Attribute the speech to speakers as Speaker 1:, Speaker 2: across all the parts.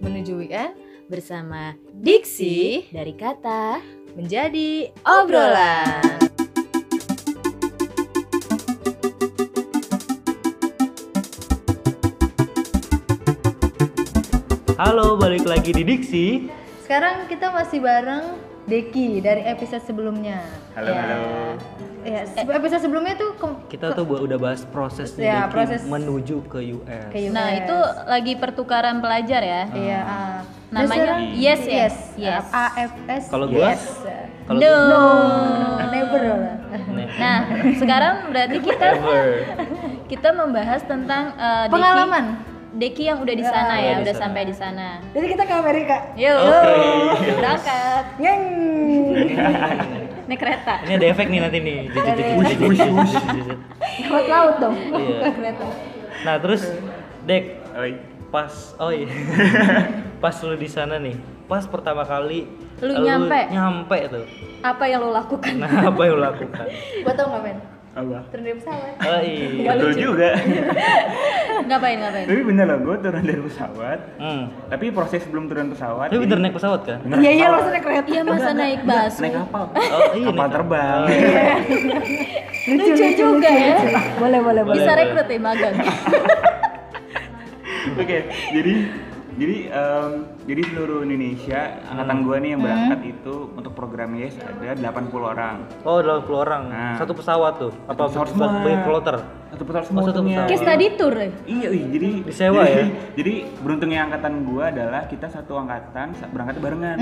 Speaker 1: menuju weekend
Speaker 2: bersama Diksi dari kata
Speaker 1: menjadi obrolan.
Speaker 3: Halo, balik lagi di Diksi.
Speaker 1: Sekarang kita masih bareng Deki dari episode sebelumnya.
Speaker 4: Halo,
Speaker 1: Ya.
Speaker 4: halo.
Speaker 1: Ya, se- episode sebelumnya tuh ke-
Speaker 3: Kita tuh bu- udah bahas prosesnya
Speaker 1: Ya,
Speaker 3: Diki
Speaker 1: proses-
Speaker 3: menuju ke US.
Speaker 1: ke US.
Speaker 2: Nah, itu lagi pertukaran pelajar ya.
Speaker 1: ya? Iya. ah. Dan
Speaker 2: Namanya
Speaker 1: sekarang
Speaker 2: Yes, ya?
Speaker 1: yes.
Speaker 2: Yes.
Speaker 1: AFS.
Speaker 3: Kalau gua?
Speaker 1: yes.
Speaker 3: Kalau gitu.
Speaker 2: No. Eh,
Speaker 1: Never.
Speaker 3: Never.
Speaker 2: Nah, sekarang berarti kita
Speaker 3: Never.
Speaker 2: kita membahas tentang eh, Deki-
Speaker 1: Pengalaman.
Speaker 2: Deki yang udah di sana
Speaker 3: Udah
Speaker 2: ya,
Speaker 3: di
Speaker 2: udah
Speaker 3: sana.
Speaker 2: sampai di sana.
Speaker 1: Jadi kita ke Amerika.
Speaker 2: Yo,
Speaker 3: Oke.
Speaker 2: berangkat
Speaker 1: Yang
Speaker 2: naik kereta.
Speaker 3: Ini ada efek nih nanti nih. Jijit, jijit, jijit, jijit, jijit.
Speaker 1: lewat laut dong.
Speaker 3: Iya. Nah, terus Dek
Speaker 4: Oi.
Speaker 3: pas oh iya. pas lu di sana nih. Pas pertama kali
Speaker 2: Lu nyampe.
Speaker 3: nyampe tuh.
Speaker 2: Apa yang lo lakukan?
Speaker 3: Nah, apa yang lu lakukan?
Speaker 1: Gua tau nggak men?
Speaker 4: Apa?
Speaker 1: Turun dari pesawat.
Speaker 3: Oh, iya.
Speaker 4: Betul juga.
Speaker 2: ngapain ngapain?
Speaker 4: Tapi bener loh, gue turun dari pesawat.
Speaker 3: Hmm.
Speaker 4: Tapi proses belum turun pesawat.
Speaker 3: Tapi
Speaker 4: jadi-
Speaker 3: bener naik pesawat kan?
Speaker 1: Iya
Speaker 4: Bener
Speaker 1: iya
Speaker 4: pesawat.
Speaker 1: maksudnya kereta.
Speaker 2: Iya masa naik bus.
Speaker 4: Naik kapal.
Speaker 3: Oh, iya,
Speaker 4: kapal
Speaker 3: naik- iya.
Speaker 4: terbang.
Speaker 2: Lucu juga ya.
Speaker 1: Boleh boleh.
Speaker 3: Boleh,
Speaker 2: Bisa
Speaker 3: boleh.
Speaker 2: rekrut ya magang.
Speaker 4: Oke, jadi jadi em, jadi seluruh Indonesia
Speaker 3: Hmm.
Speaker 4: angkatan gue nih yang berangkat itu untuk program YES ada 80 orang.
Speaker 3: Oh, 80 orang.
Speaker 4: Nah.
Speaker 3: Satu pesawat tuh. Apa pesawat
Speaker 4: pesawat semua.
Speaker 3: banyak floater?
Speaker 4: Satu pesawat semua.
Speaker 3: Oh, satu
Speaker 4: untungnya.
Speaker 3: pesawat.
Speaker 2: Kayak study tour ya.
Speaker 4: Iya, wih, jadi
Speaker 3: Disewa
Speaker 4: jadi,
Speaker 3: ya?
Speaker 4: Jadi beruntungnya angkatan gua adalah kita satu angkatan sa- berangkat barengan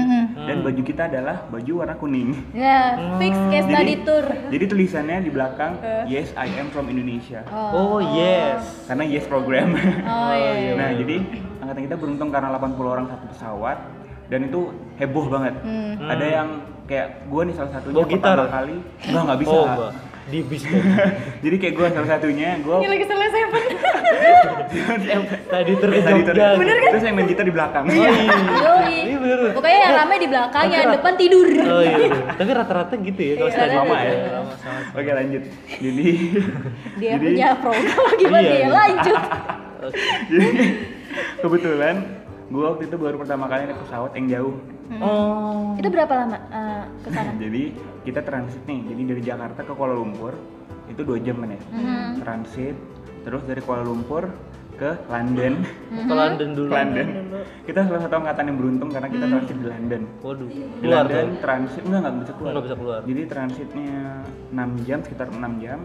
Speaker 4: dan baju kita adalah baju warna kuning.
Speaker 2: Ya, fix
Speaker 3: Hmm.
Speaker 2: kayak study tour.
Speaker 4: Jadi tulisannya di belakang Yes I am from Indonesia
Speaker 3: Oh, yes.
Speaker 4: karena Yes program.
Speaker 2: Oh iya.
Speaker 4: nah jadi angkatan kita beruntung karena 80 orang satu pesawat dan itu heboh banget. Ada yang kayak gua nih salah satunya
Speaker 3: Bawa gitar?
Speaker 4: pertama kali enggak nggak bisa.
Speaker 3: Oh, Mbak. di bis Eh, Mbak.
Speaker 4: jadi kayak gua salah satunya gua
Speaker 3: Oh, iya.
Speaker 1: Ini lagi selesai seven.
Speaker 3: tadi tur ke
Speaker 4: Tadi
Speaker 3: Jogja.
Speaker 4: ter- Terus yang main gitar di belakang.
Speaker 3: Oh, iya.
Speaker 2: Yoi.
Speaker 3: Iya, bener.
Speaker 2: Pokoknya yang rame di belakang,
Speaker 3: Tapi
Speaker 2: yang
Speaker 3: rat-
Speaker 2: depan tidur.
Speaker 3: Oh iya. Tapi rata-rata gitu ya kalau
Speaker 4: Iya,
Speaker 3: stadion.
Speaker 4: lama ya.
Speaker 3: Iya, lama sama.
Speaker 4: Oke lanjut. Jadi
Speaker 2: Dia
Speaker 4: jadi,
Speaker 2: punya program gimana
Speaker 3: Iya,
Speaker 2: ya?
Speaker 3: iya.
Speaker 2: Lanjut.
Speaker 4: jadi kebetulan gue waktu itu baru pertama kali naik pesawat yang jauh.
Speaker 1: Hmm.
Speaker 3: Oh.
Speaker 2: Itu berapa lama eh, ke sana?
Speaker 4: Jadi kita transit nih. Jadi dari Jakarta ke Kuala Lumpur itu dua jam kan ya.
Speaker 3: Mm-hmm.
Speaker 4: Transit terus dari Kuala Lumpur ke London.
Speaker 1: Hmm.
Speaker 3: Ke London
Speaker 4: Ke
Speaker 3: dulu. Mm-hmm.
Speaker 4: London. Kita salah satu angkatan yang beruntung karena kita transit di London.
Speaker 3: Waduh,
Speaker 4: Di
Speaker 3: keluar
Speaker 4: London
Speaker 3: tuh.
Speaker 4: transit enggak enggak bisa keluar.
Speaker 3: Nggak bisa keluar.
Speaker 4: Jadi transitnya 6 jam sekitar 6 jam.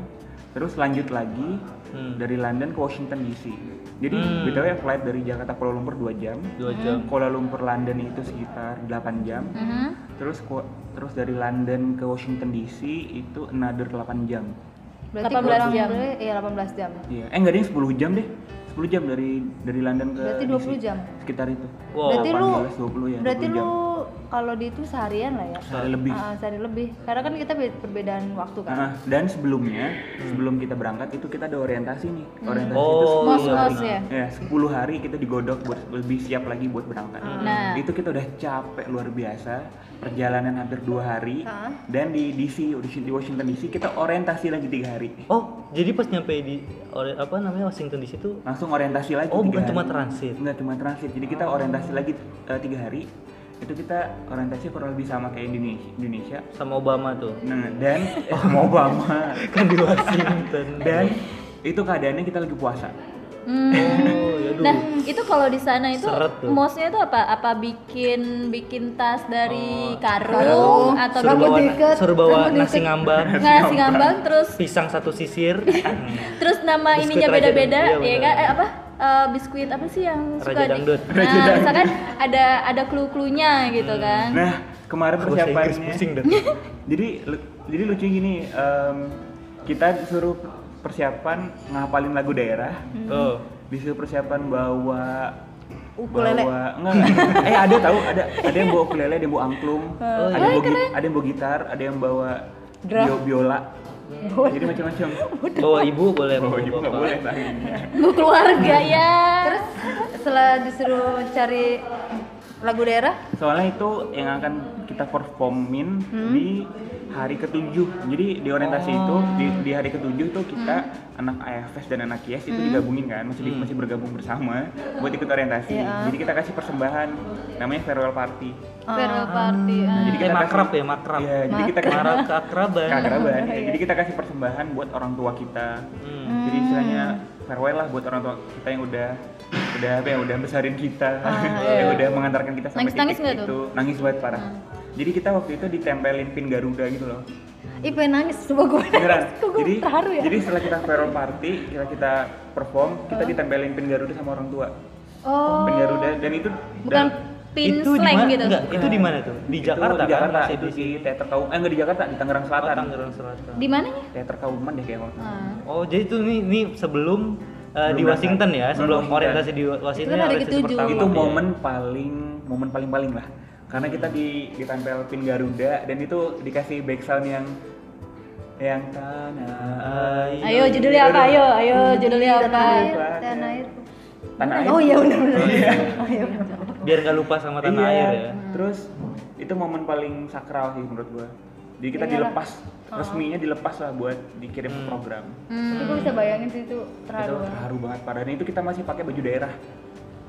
Speaker 4: Terus lanjut lagi
Speaker 3: Hmm.
Speaker 4: dari London ke Washington DC. Jadi
Speaker 3: Hmm.
Speaker 4: btw flight dari Jakarta Kuala Lumpur 2 jam. Hmm.
Speaker 3: Dua jam.
Speaker 4: Kuala Lumpur London itu sekitar 8 jam.
Speaker 1: Hmm.
Speaker 2: Mhm.
Speaker 4: Terus ku- terus dari London ke Washington DC itu another 8 jam.
Speaker 1: Berarti
Speaker 2: 18
Speaker 1: kurang
Speaker 2: jam.
Speaker 1: boleh- Iya 18 jam.
Speaker 4: Iya, eh enggak deh 10 jam deh. 10 jam dari dari London ke
Speaker 1: Berarti
Speaker 4: DC.
Speaker 1: 20 jam.
Speaker 4: Sekitar itu.
Speaker 3: Wow.
Speaker 1: Berarti lu
Speaker 4: 18, 20 ya.
Speaker 1: Berarti lu
Speaker 4: 20 jam.
Speaker 1: kalau di itu seharian lah ya.
Speaker 4: sehari lebih.
Speaker 1: Ah, sehari lebih. Karena kan kita be- perbedaan waktu kan.
Speaker 4: Ah, dan sebelumnya, sebelum kita berangkat itu kita ada orientasi nih. Orientasi itu
Speaker 3: Oh,
Speaker 1: Mos
Speaker 3: iya.
Speaker 1: mos ya.
Speaker 4: ya 10 hari kita digodok buat lebih siap lagi buat berangkat.
Speaker 2: Nah.
Speaker 4: Itu kita udah capek luar biasa, perjalanan hampir dua hari.
Speaker 1: Ah.
Speaker 4: Dan di DC, di Washington DC kita orientasi lagi tiga hari.
Speaker 3: Oh, jadi pas nyampe di ori- apa namanya Washington di situ
Speaker 4: Langsung orientasi lagi.
Speaker 3: Oh,
Speaker 4: tiga
Speaker 3: bukan
Speaker 4: hari.
Speaker 3: cuma transit.
Speaker 4: Nggak cuma transit. Jadi kita orientasi lagi eh, tiga hari. Itu kita orientasi kurang lebih sama kayak Indonesia. Indonesia.
Speaker 3: sama Obama tuh.
Speaker 4: Nah, dan eh, sama Obama.
Speaker 3: Oh. Kan di Washington.
Speaker 4: Dan itu keadaannya kita lagi puasa.
Speaker 2: Hmm.
Speaker 3: oh, ya
Speaker 2: Nah, itu kalau di sana itu
Speaker 3: Seret tuh.
Speaker 2: mosnya itu apa? Apa bikin bikin tas dari
Speaker 3: Oh,
Speaker 1: Karung,
Speaker 2: karung atau
Speaker 3: suruh bawa,
Speaker 1: Oh, rambut diikat,
Speaker 3: suruh bawa
Speaker 1: rambut
Speaker 3: nasi
Speaker 1: diikat.
Speaker 3: ngambang,
Speaker 2: ngasih ngambang terus
Speaker 3: pisang satu sisir.
Speaker 2: terus nama
Speaker 3: Biskuit
Speaker 2: ininya
Speaker 3: Raja
Speaker 2: beda-beda
Speaker 3: Dangdut,
Speaker 2: ya
Speaker 3: iya
Speaker 2: kan
Speaker 3: benar.
Speaker 2: Eh, apa Eh, biskuit apa sih yang
Speaker 3: Raja Hmm.
Speaker 2: suka di-
Speaker 3: Dangdut.
Speaker 2: nah misalkan ada ada clue-cluenya gitu kan
Speaker 4: Nah, kemarin
Speaker 3: Bahasa Inggris
Speaker 4: persiapannya.
Speaker 3: pusing
Speaker 1: Hmm.
Speaker 3: dah.
Speaker 4: jadi lu- jadi lucu gini, em, kita disuruh persiapan ngapalin lagu daerah,
Speaker 3: Oh.
Speaker 4: disuruh persiapan bawa
Speaker 1: Ukulele.
Speaker 4: Nah, bawa enggak, enggak. eh ada tahu ada ada yang bawa ukulele ada yang bawa angklung ada yang bawa, gi- ada yang bawa gitar ada yang bawa
Speaker 1: Drum.
Speaker 4: bio- biola jadi macam-macam
Speaker 3: Bawa ibu boleh
Speaker 4: oh ibu nggak boleh tadi
Speaker 2: Bu keluarga ya
Speaker 1: Terus setelah disuruh cari lagu daerah,
Speaker 4: soalnya itu yang akan kita performin di hari ketujuh. Jadi di orientasi itu di, di hari ketujuh tuh kita anak AFS dan anak IAS itu digabungin kan, masih di-
Speaker 3: Hmm.
Speaker 4: masih bergabung bersama buat ikut orientasi.
Speaker 1: Iya.
Speaker 4: Jadi kita kasih persembahan namanya farewell party.
Speaker 2: farewell party. ah.
Speaker 4: Jadi
Speaker 3: Kayak
Speaker 4: kita
Speaker 3: makrab
Speaker 4: kasih-
Speaker 3: ya, makrab.
Speaker 4: Iya, jadi kita kasih
Speaker 3: Marah keakraban.
Speaker 4: keakraban. ya. Jadi kita kasih persembahan buat orang tua kita.
Speaker 3: Hmm.
Speaker 4: Jadi istilahnya farewell lah buat orang tua kita yang udah udah apa ya udah besarin kita, yang udah mengantarkan kita sampai
Speaker 2: Nangis-nangis
Speaker 4: titik
Speaker 2: nggak
Speaker 4: itu. Nangis banget parah. Jadi kita waktu itu ditempelin pin Garuda gitu loh.
Speaker 1: Ih pengen nangis, coba gue
Speaker 4: Beneran.
Speaker 1: nangis. Kok gue
Speaker 4: jadi
Speaker 1: terharu ya?
Speaker 4: jadi setelah kita farewell party, kita kita perform, kita ditempelin pin Garuda sama orang tua.
Speaker 2: Oh,
Speaker 4: Pin Garuda dan itu
Speaker 2: bukan
Speaker 4: dan-
Speaker 2: pin
Speaker 3: itu di
Speaker 2: slang
Speaker 3: mana?
Speaker 2: gitu.
Speaker 3: Enggak, itu di mana tuh? Di
Speaker 4: itu
Speaker 3: Jakarta,
Speaker 4: di Jakarta
Speaker 3: kan?
Speaker 4: itu
Speaker 3: Itu
Speaker 4: di Teater Kau eh enggak di Jakarta di Tangerang Selatan
Speaker 3: Oh, Tangerang Selatan.
Speaker 2: Di mananya?
Speaker 4: Teater Kauman deh kayaknya
Speaker 2: Ah.
Speaker 3: Oh, jadi itu nih, nih sebelum uh,
Speaker 4: Sebelum Iya.
Speaker 3: di Washington
Speaker 4: berangkat.
Speaker 3: ya,
Speaker 4: Sebelum
Speaker 3: sebelum
Speaker 4: Washington.
Speaker 3: orientasi di Washington.
Speaker 1: Itu kan hari
Speaker 3: orientasi
Speaker 1: ketujuh.
Speaker 3: pertama
Speaker 4: itu
Speaker 3: dia.
Speaker 4: momen paling momen paling paling lah karena kita di ditempel pin Garuda dan itu dikasih back sound yang yang tanah air.
Speaker 2: Ayo judulnya apa? Ayo, ayo Eh, judulnya apa?
Speaker 1: air,
Speaker 4: Tanah
Speaker 1: Iya, tanah air.
Speaker 4: tanah air
Speaker 1: Oh iya benar benar. Oh iya benar.
Speaker 3: biar nggak lupa sama tanah
Speaker 4: Iya.
Speaker 3: air ya.
Speaker 4: terus itu momen paling sakral sih menurut gua jadi
Speaker 2: Iya,
Speaker 4: kita dilepas
Speaker 2: Oh.
Speaker 4: resminya dilepas lah buat dikirim
Speaker 3: Hmm.
Speaker 4: ke program
Speaker 2: Hmm.
Speaker 1: Tapi gue bisa bayangin sih itu terharu.
Speaker 4: itu terharu banget padahal itu kita masih pakai baju daerah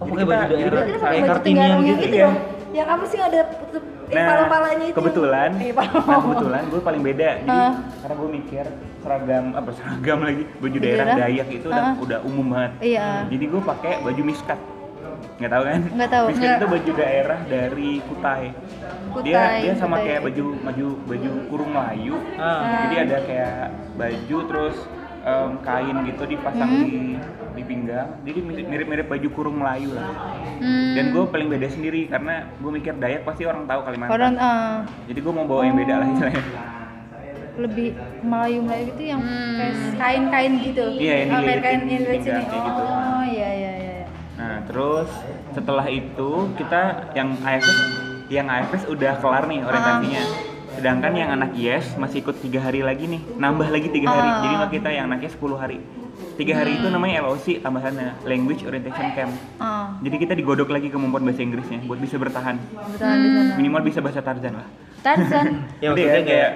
Speaker 3: Oh,
Speaker 4: Jadi
Speaker 3: pakai baju
Speaker 4: kita- jadi
Speaker 3: daerah.
Speaker 4: kita
Speaker 1: Kita
Speaker 4: pakai
Speaker 1: pakai
Speaker 3: Kayak
Speaker 1: baju
Speaker 3: kartinian
Speaker 1: Tenggarong yang
Speaker 3: gitu
Speaker 1: itu
Speaker 4: ya.
Speaker 1: dong. Yang apa sih yang ada tutup- eh, pala-palanya itu?
Speaker 4: Nah,
Speaker 1: Ah.
Speaker 4: kebetulan,
Speaker 1: Eh,
Speaker 4: nah,
Speaker 1: pala-pala.
Speaker 4: kebetulan gue paling beda. Jadi karena gue mikir seragam apa seragam lagi baju daerah
Speaker 1: daerah? Ah.
Speaker 4: Dayak itu udah udah umum banget.
Speaker 1: Iya.
Speaker 4: Jadi gue pakai baju miskat. Nggak tahu kan?
Speaker 1: Nggak tahu.
Speaker 4: Miskat
Speaker 1: Nggak.
Speaker 4: itu baju daerah dari Kutai. dia
Speaker 1: Kutai,
Speaker 4: dia sama
Speaker 1: Kutai.
Speaker 4: kayak baju baju baju kurung Melayu.
Speaker 3: Ah.
Speaker 4: Jadi ada kayak baju terus em, kain gitu dipasang
Speaker 1: Hmm.
Speaker 4: di di pinggang. Jadi mirip- mirip-mirip baju kurung Melayu lah.
Speaker 1: Hmm.
Speaker 4: Dan gue paling beda sendiri karena gue mikir Dayak pasti orang tahu Kalimantan.
Speaker 1: Orang Oh. eh,
Speaker 4: Jadi gue mau bawa yang beda lah istilahnya.
Speaker 1: lebih Melayu-Melayu gitu yang
Speaker 2: Hmm.
Speaker 1: kayak kain-kain gitu.
Speaker 4: Iya, yang
Speaker 1: Oh,
Speaker 4: dililit
Speaker 1: kain-kain
Speaker 4: di-
Speaker 1: yang
Speaker 4: di
Speaker 1: dililit sini.
Speaker 4: pinggang kayak gitu.
Speaker 1: Oh iya iya iya. iya.
Speaker 4: Nah terus setelah itu kita yang AFS yang AFS udah kelar nih orientasinya. Sedangkan yang anak IES masih ikut tiga hari lagi nih, nambah lagi tiga hari.
Speaker 1: Ah.
Speaker 2: Oh.
Speaker 4: Jadi kita yang anak IES 10 hari. Tiga hari
Speaker 2: Hmm.
Speaker 4: itu namanya LOC tambahannya Language Orientation Camp.
Speaker 1: Ah,
Speaker 4: Jadi kita digodok lagi kemampuan bahasa Inggrisnya buat bisa bertahan.
Speaker 1: kebetulan di sana.
Speaker 4: Minimal bisa bahasa Tarzan lah.
Speaker 2: Tarzan.
Speaker 3: Ya
Speaker 4: Jadi
Speaker 3: maksudnya kayak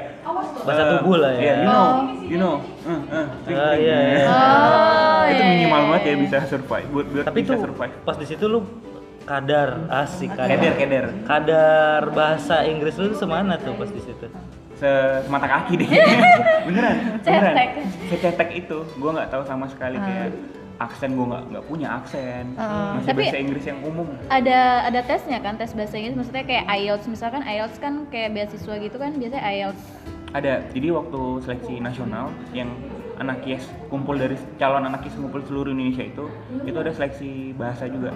Speaker 3: bahasa
Speaker 4: eh,
Speaker 3: tubuh lah ya.
Speaker 4: iya, you know,
Speaker 1: Oh.
Speaker 4: you know. eh, eh, ting,
Speaker 3: Ah,
Speaker 4: ting.
Speaker 3: iya, iya.
Speaker 2: Oh,
Speaker 4: itu
Speaker 2: iya,
Speaker 4: minimal
Speaker 2: iya,
Speaker 4: banget ya
Speaker 2: iya.
Speaker 4: bisa survive buat, buat
Speaker 3: Tapi
Speaker 4: bisa
Speaker 3: tuh
Speaker 4: survive
Speaker 3: pas di situ lu kadar asik kadar.
Speaker 4: keder keder
Speaker 3: Kadar bahasa Inggris lu tuh semana tuh pas di situ?
Speaker 4: Se- semata kaki deh beneran beneran
Speaker 2: Cetek. Ah.
Speaker 4: secetek itu gue nggak tahu sama sekali kayak aksen gue nggak nggak punya aksen masih
Speaker 2: Tapi-
Speaker 4: bahasa Inggris yang umum
Speaker 2: Ada ada tesnya kan, tes bahasa Inggris maksudnya kayak IELTS misalkan IELTS kan kayak beasiswa gitu kan biasanya IELTS.
Speaker 4: ada jadi waktu seleksi nasional yang anak IES kumpul dari calon anak IES kumpul seluruh Indonesia itu itu ada seleksi bahasa juga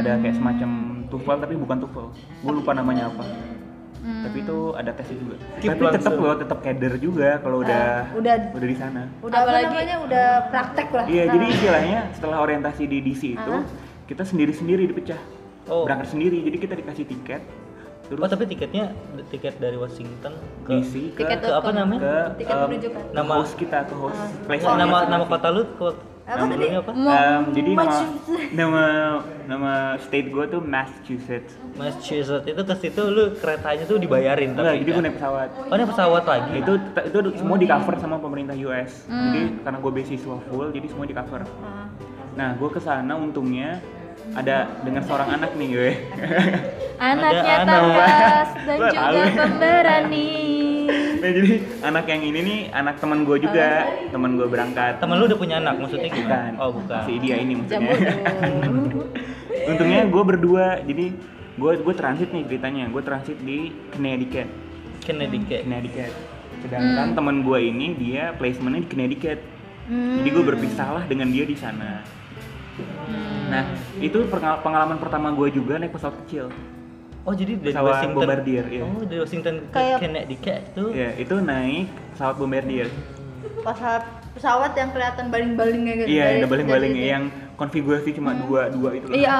Speaker 4: ada
Speaker 2: Hmm.
Speaker 4: kayak semacam TOEFL tapi bukan TOEFL gue lupa namanya apa
Speaker 2: Hmm.
Speaker 4: tapi itu ada tesnya juga
Speaker 3: Keep
Speaker 4: tapi tetap
Speaker 3: langsung.
Speaker 4: lo tetap keder juga kalau udah
Speaker 1: Ah, udah.
Speaker 4: udah di sana
Speaker 1: Udah apa
Speaker 2: Apalagi-
Speaker 1: namanya udah praktek lah.
Speaker 4: iya jadi istilahnya setelah orientasi di DC itu kita sendiri sendiri dipecah
Speaker 3: Oh.
Speaker 4: berangkat sendiri jadi kita dikasih tiket terus
Speaker 3: Oh tapi tiketnya tiket dari Washington ke
Speaker 4: DC ke
Speaker 2: tiket
Speaker 3: ke apa
Speaker 2: dot com.
Speaker 3: namanya?
Speaker 4: ke
Speaker 1: Tiket
Speaker 4: em,
Speaker 1: menunjukkan. Ah.
Speaker 4: ke
Speaker 3: Nama-
Speaker 4: host kita ke host place
Speaker 3: Oh, nama
Speaker 4: masing-masing.
Speaker 3: nama kota lu kota
Speaker 1: Apa tadi?
Speaker 3: sebelumnya
Speaker 2: Hmm.
Speaker 3: apa?
Speaker 4: Em, jadi nama
Speaker 1: Massachusetts.
Speaker 4: nama nama state gue tuh Massachusetts
Speaker 3: Massachusetts itu ke situ lu keretanya tuh dibayarin
Speaker 4: enggak
Speaker 3: tapi
Speaker 4: jadi gue
Speaker 3: kan?
Speaker 4: naik pesawat
Speaker 3: Oh ini pesawat lagi?
Speaker 1: iya.
Speaker 4: itu itu semua di cover sama pemerintah US jadi karena gue beasiswa full jadi semua di cover
Speaker 1: Hmm. Ah.
Speaker 4: nah gue kesana untungnya ada dengan seorang anak nih gue
Speaker 2: Anaknya
Speaker 3: anak.
Speaker 2: tandas dan
Speaker 4: Gua
Speaker 2: juga
Speaker 4: tahu.
Speaker 2: pemberani.
Speaker 4: nah jadi anak yang ini nih anak teman gue juga teman gue berangkat
Speaker 3: Temen lu udah punya anak maksudnya
Speaker 4: bukan
Speaker 3: gimana? Oh bukan.
Speaker 4: si dia ini
Speaker 2: Jamu
Speaker 4: maksudnya untungnya gue berdua jadi gue gue transit nih ceritanya gue transit di Connecticut
Speaker 3: Connecticut.
Speaker 4: Connecticut sedangkan teman gue ini dia placementnya di Connecticut
Speaker 1: Hmm.
Speaker 4: jadi gue berpisah lah dengan dia di sana
Speaker 3: Hmm.
Speaker 4: nah itu pergal- pengalaman pertama gue juga naik pesawat kecil
Speaker 3: Oh jadi dari
Speaker 4: Pesawat
Speaker 3: Washington.
Speaker 4: Bombardier, iya.
Speaker 3: Oh dari Washington ke
Speaker 1: Kayak-
Speaker 3: Connecticut tuh.
Speaker 4: ya itu naik pesawat Bombardier
Speaker 1: pesawat pesawat yang kelihatan baling-balingnya gitu.
Speaker 4: iya
Speaker 1: dari-
Speaker 4: yang baling-baling
Speaker 1: dari-
Speaker 4: yang konfigurasi cuma dua dua itu loh.
Speaker 1: Iya.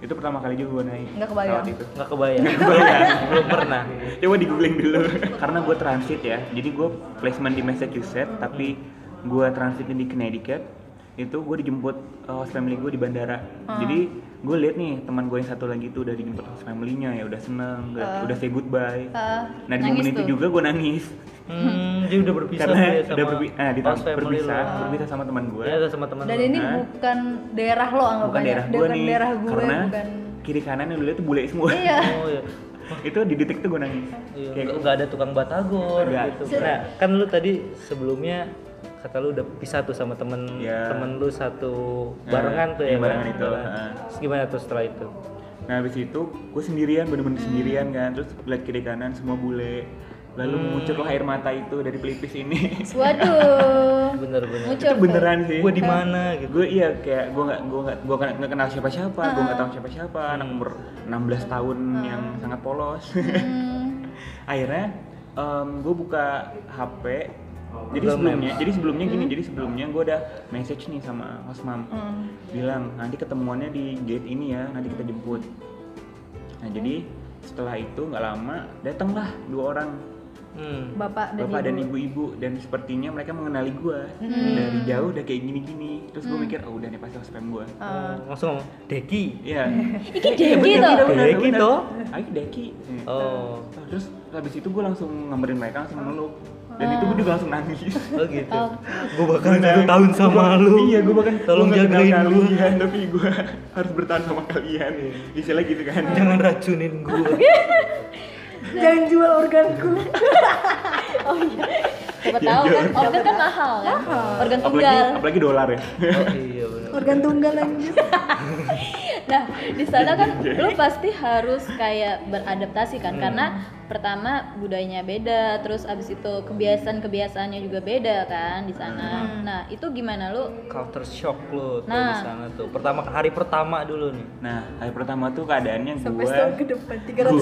Speaker 4: itu pertama kali juga gue naik
Speaker 1: Nggak kebayang.
Speaker 4: pesawat itu
Speaker 3: Nggak kebayang. Belum- Belum pernah.
Speaker 4: coba di googling dulu karena gue transit ya jadi gue placement di Massachusetts tapi gue transit di Connecticut itu gue dijemput eh, host family gue di bandara
Speaker 1: Hmm.
Speaker 4: jadi gue liat nih teman gue yang satu lagi tuh udah dijemput host family-nya ya udah seneng udah-
Speaker 1: Hmm.
Speaker 4: udah say
Speaker 1: Eh,
Speaker 4: goodbye nah di
Speaker 2: Nangis
Speaker 4: momen itu
Speaker 2: tuh.
Speaker 4: juga gue nangis
Speaker 3: Hmm, dia udah berpisah
Speaker 4: karena
Speaker 3: tuh ya
Speaker 4: udah berpi nah,
Speaker 3: host
Speaker 4: ditang-
Speaker 3: family
Speaker 4: berpisah
Speaker 3: lo.
Speaker 4: berpisah sama teman gue
Speaker 3: Ya, sama teman
Speaker 1: dan
Speaker 3: lo.
Speaker 1: ini
Speaker 4: Hah?
Speaker 1: bukan daerah lo
Speaker 4: bukan
Speaker 1: anggapannya
Speaker 4: daerah gue
Speaker 1: bukan
Speaker 4: nih
Speaker 1: Oh, daerah gue
Speaker 4: karena
Speaker 1: bukan
Speaker 4: kiri kanan yang dulu itu bule semua
Speaker 1: iya
Speaker 3: Oh iya.
Speaker 4: itu di detik tuh gue nangis
Speaker 3: Iya,
Speaker 4: kayak
Speaker 3: nggak- nggak ada tukang batagor
Speaker 4: Nggak.
Speaker 3: gitu. Nah, kan lu tadi sebelumnya kata lu udah pisah tuh sama temen
Speaker 4: Iya.
Speaker 3: temen lu satu
Speaker 4: Eh,
Speaker 3: barengan tuh ya.
Speaker 4: iya, barengan
Speaker 3: kan?
Speaker 4: itu,
Speaker 3: Nah,
Speaker 4: eh.
Speaker 3: Terus gimana tuh setelah itu?
Speaker 4: Nah habis itu gue sendirian bener-bener
Speaker 3: Hmm.
Speaker 4: sendirian kan terus lihat kiri kanan semua bule lalu
Speaker 3: Hmm.
Speaker 4: memuncullah air mata itu dari pelipis ini
Speaker 2: Waduh.
Speaker 3: Bener-bener.
Speaker 2: Muncul.
Speaker 4: itu beneran sih
Speaker 3: Gue di mana gitu.
Speaker 4: gue iya kayak gue nggak gue nggak gue nggak kenal siapa siapa gue nggak tahu siapa siapa anak
Speaker 3: Hmm.
Speaker 4: umur 16 tahun yang sangat polos
Speaker 3: Hmm.
Speaker 4: akhirnya gue buka hp jadi
Speaker 3: Google
Speaker 4: sebelumnya jadi sebelumnya gini
Speaker 3: Hmm.
Speaker 4: jadi sebelumnya gue udah message nih sama host mom
Speaker 1: Hmm.
Speaker 4: bilang nanti ketemuannya di gate ini ya nanti kita jemput nah jadi setelah itu nggak lama datanglah dua orang
Speaker 3: Hmm.
Speaker 1: bapak dan
Speaker 4: bapak dan
Speaker 1: ibu
Speaker 4: ibu-ibu dan sepertinya mereka mengenali gue
Speaker 2: Hmm.
Speaker 4: dari jauh udah kayak gini-gini terus gue mikir oh udah nih pasti host spam gue
Speaker 2: Eh,
Speaker 3: Oh, langsung ngomong, Deki.
Speaker 4: Iya.
Speaker 2: Iki Deki toh.
Speaker 3: Deki toh.
Speaker 4: Ayo Deki. Iya.
Speaker 3: Oh,
Speaker 4: Nah, Terus habis itu gue langsung ngamberin mereka langsung meluk. Dan itu gue juga langsung nangis.
Speaker 3: oh gitu.
Speaker 2: Oh.
Speaker 3: Gue bakal satu tahun sama
Speaker 4: Nah, Gua-
Speaker 3: lu.
Speaker 4: Iya, gue bahkan
Speaker 3: tolong
Speaker 4: gua nggak kenal
Speaker 3: jagain gue.
Speaker 4: kalian, tapi gue harus bertahan sama kalian. Istilah gitu
Speaker 3: Iya.
Speaker 4: kan.
Speaker 3: Jangan racunin gue.
Speaker 1: jangan jual organku
Speaker 2: Siapa tahu kan organ kan mahal kan. Organ
Speaker 4: Apalagi
Speaker 2: tunggal.
Speaker 4: apalagi dolar ya.
Speaker 3: oh, iya bener.
Speaker 1: organ tunggal lanjut
Speaker 2: Nah, di sana kan lu pasti harus kayak beradaptasi kan
Speaker 3: Hmm.
Speaker 2: karena pertama budayanya beda, terus abis itu kebiasaan-kebiasaannya juga beda kan di sana.
Speaker 3: Hmm.
Speaker 2: Nah, itu gimana lu?
Speaker 3: Culture shock lu tuh di
Speaker 2: Nah.
Speaker 3: sana tuh. Pertama hari pertama dulu nih.
Speaker 4: Nah, hari pertama tuh keadaannya
Speaker 1: sampai
Speaker 4: gue
Speaker 1: setahun
Speaker 2: gitu.
Speaker 1: ke depan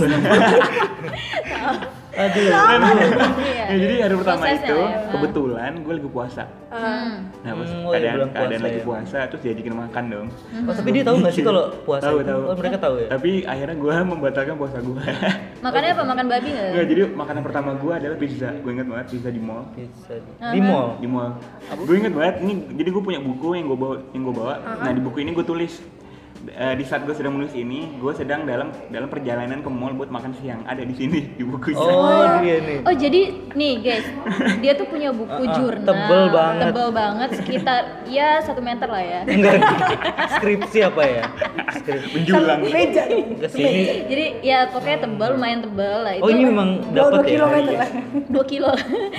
Speaker 1: 300
Speaker 3: Aduh.
Speaker 2: Iya.
Speaker 4: Ya, jadi hari pertama
Speaker 2: Prosesnya
Speaker 4: itu
Speaker 2: lah ya.
Speaker 4: kebetulan gue lagi puasa.
Speaker 1: Ah.
Speaker 2: Hmm.
Speaker 4: Nah, pas
Speaker 3: Hmm, oh iya,
Speaker 4: keadaan,
Speaker 3: bulan
Speaker 4: keadaan
Speaker 3: puasa
Speaker 4: lagi
Speaker 3: ya.
Speaker 4: puasa terus diajakin makan dong.
Speaker 3: Oh, tapi dia tahu nggak sih kalau puasa
Speaker 4: Tahu,
Speaker 3: itu?
Speaker 4: tahu.
Speaker 3: Oh, mereka tahu ya.
Speaker 4: Tapi akhirnya gue membatalkan puasa gue.
Speaker 2: Iya. Makannya apa? Makan babi nggak?
Speaker 4: Nggak, jadi makanan pertama gue adalah pizza. Gue inget banget pizza di mall.
Speaker 3: Pizza di, di mall.
Speaker 4: Di mall. Gue inget banget. Ini jadi gue punya buku yang gue bawa. Yang gue bawa.
Speaker 2: Uh-huh.
Speaker 4: Nah di buku ini gue tulis. Eh, di saat gue sedang menulis ini, gue sedang dalam dalam perjalanan ke mall buat makan siang. Ada di sini di buku ini.
Speaker 3: Oh, dia nih.
Speaker 2: Oh jadi nih guys, dia tuh punya buku
Speaker 3: Ah, ah,
Speaker 2: jurnal
Speaker 3: tebel banget.
Speaker 2: tebel banget, sekitar ya satu meter lah ya.
Speaker 3: Enggak. Skripsi apa ya? Skripsi.
Speaker 4: Menjulang.
Speaker 1: meja
Speaker 4: ya
Speaker 1: dong
Speaker 3: Enggak sih ini.
Speaker 2: Jadi ya pokoknya tebel, lumayan tebel lah iya. itu.
Speaker 3: Oh, ini memang
Speaker 1: dua dua
Speaker 3: dapat ya.
Speaker 1: kilometer lah
Speaker 2: dua kilo.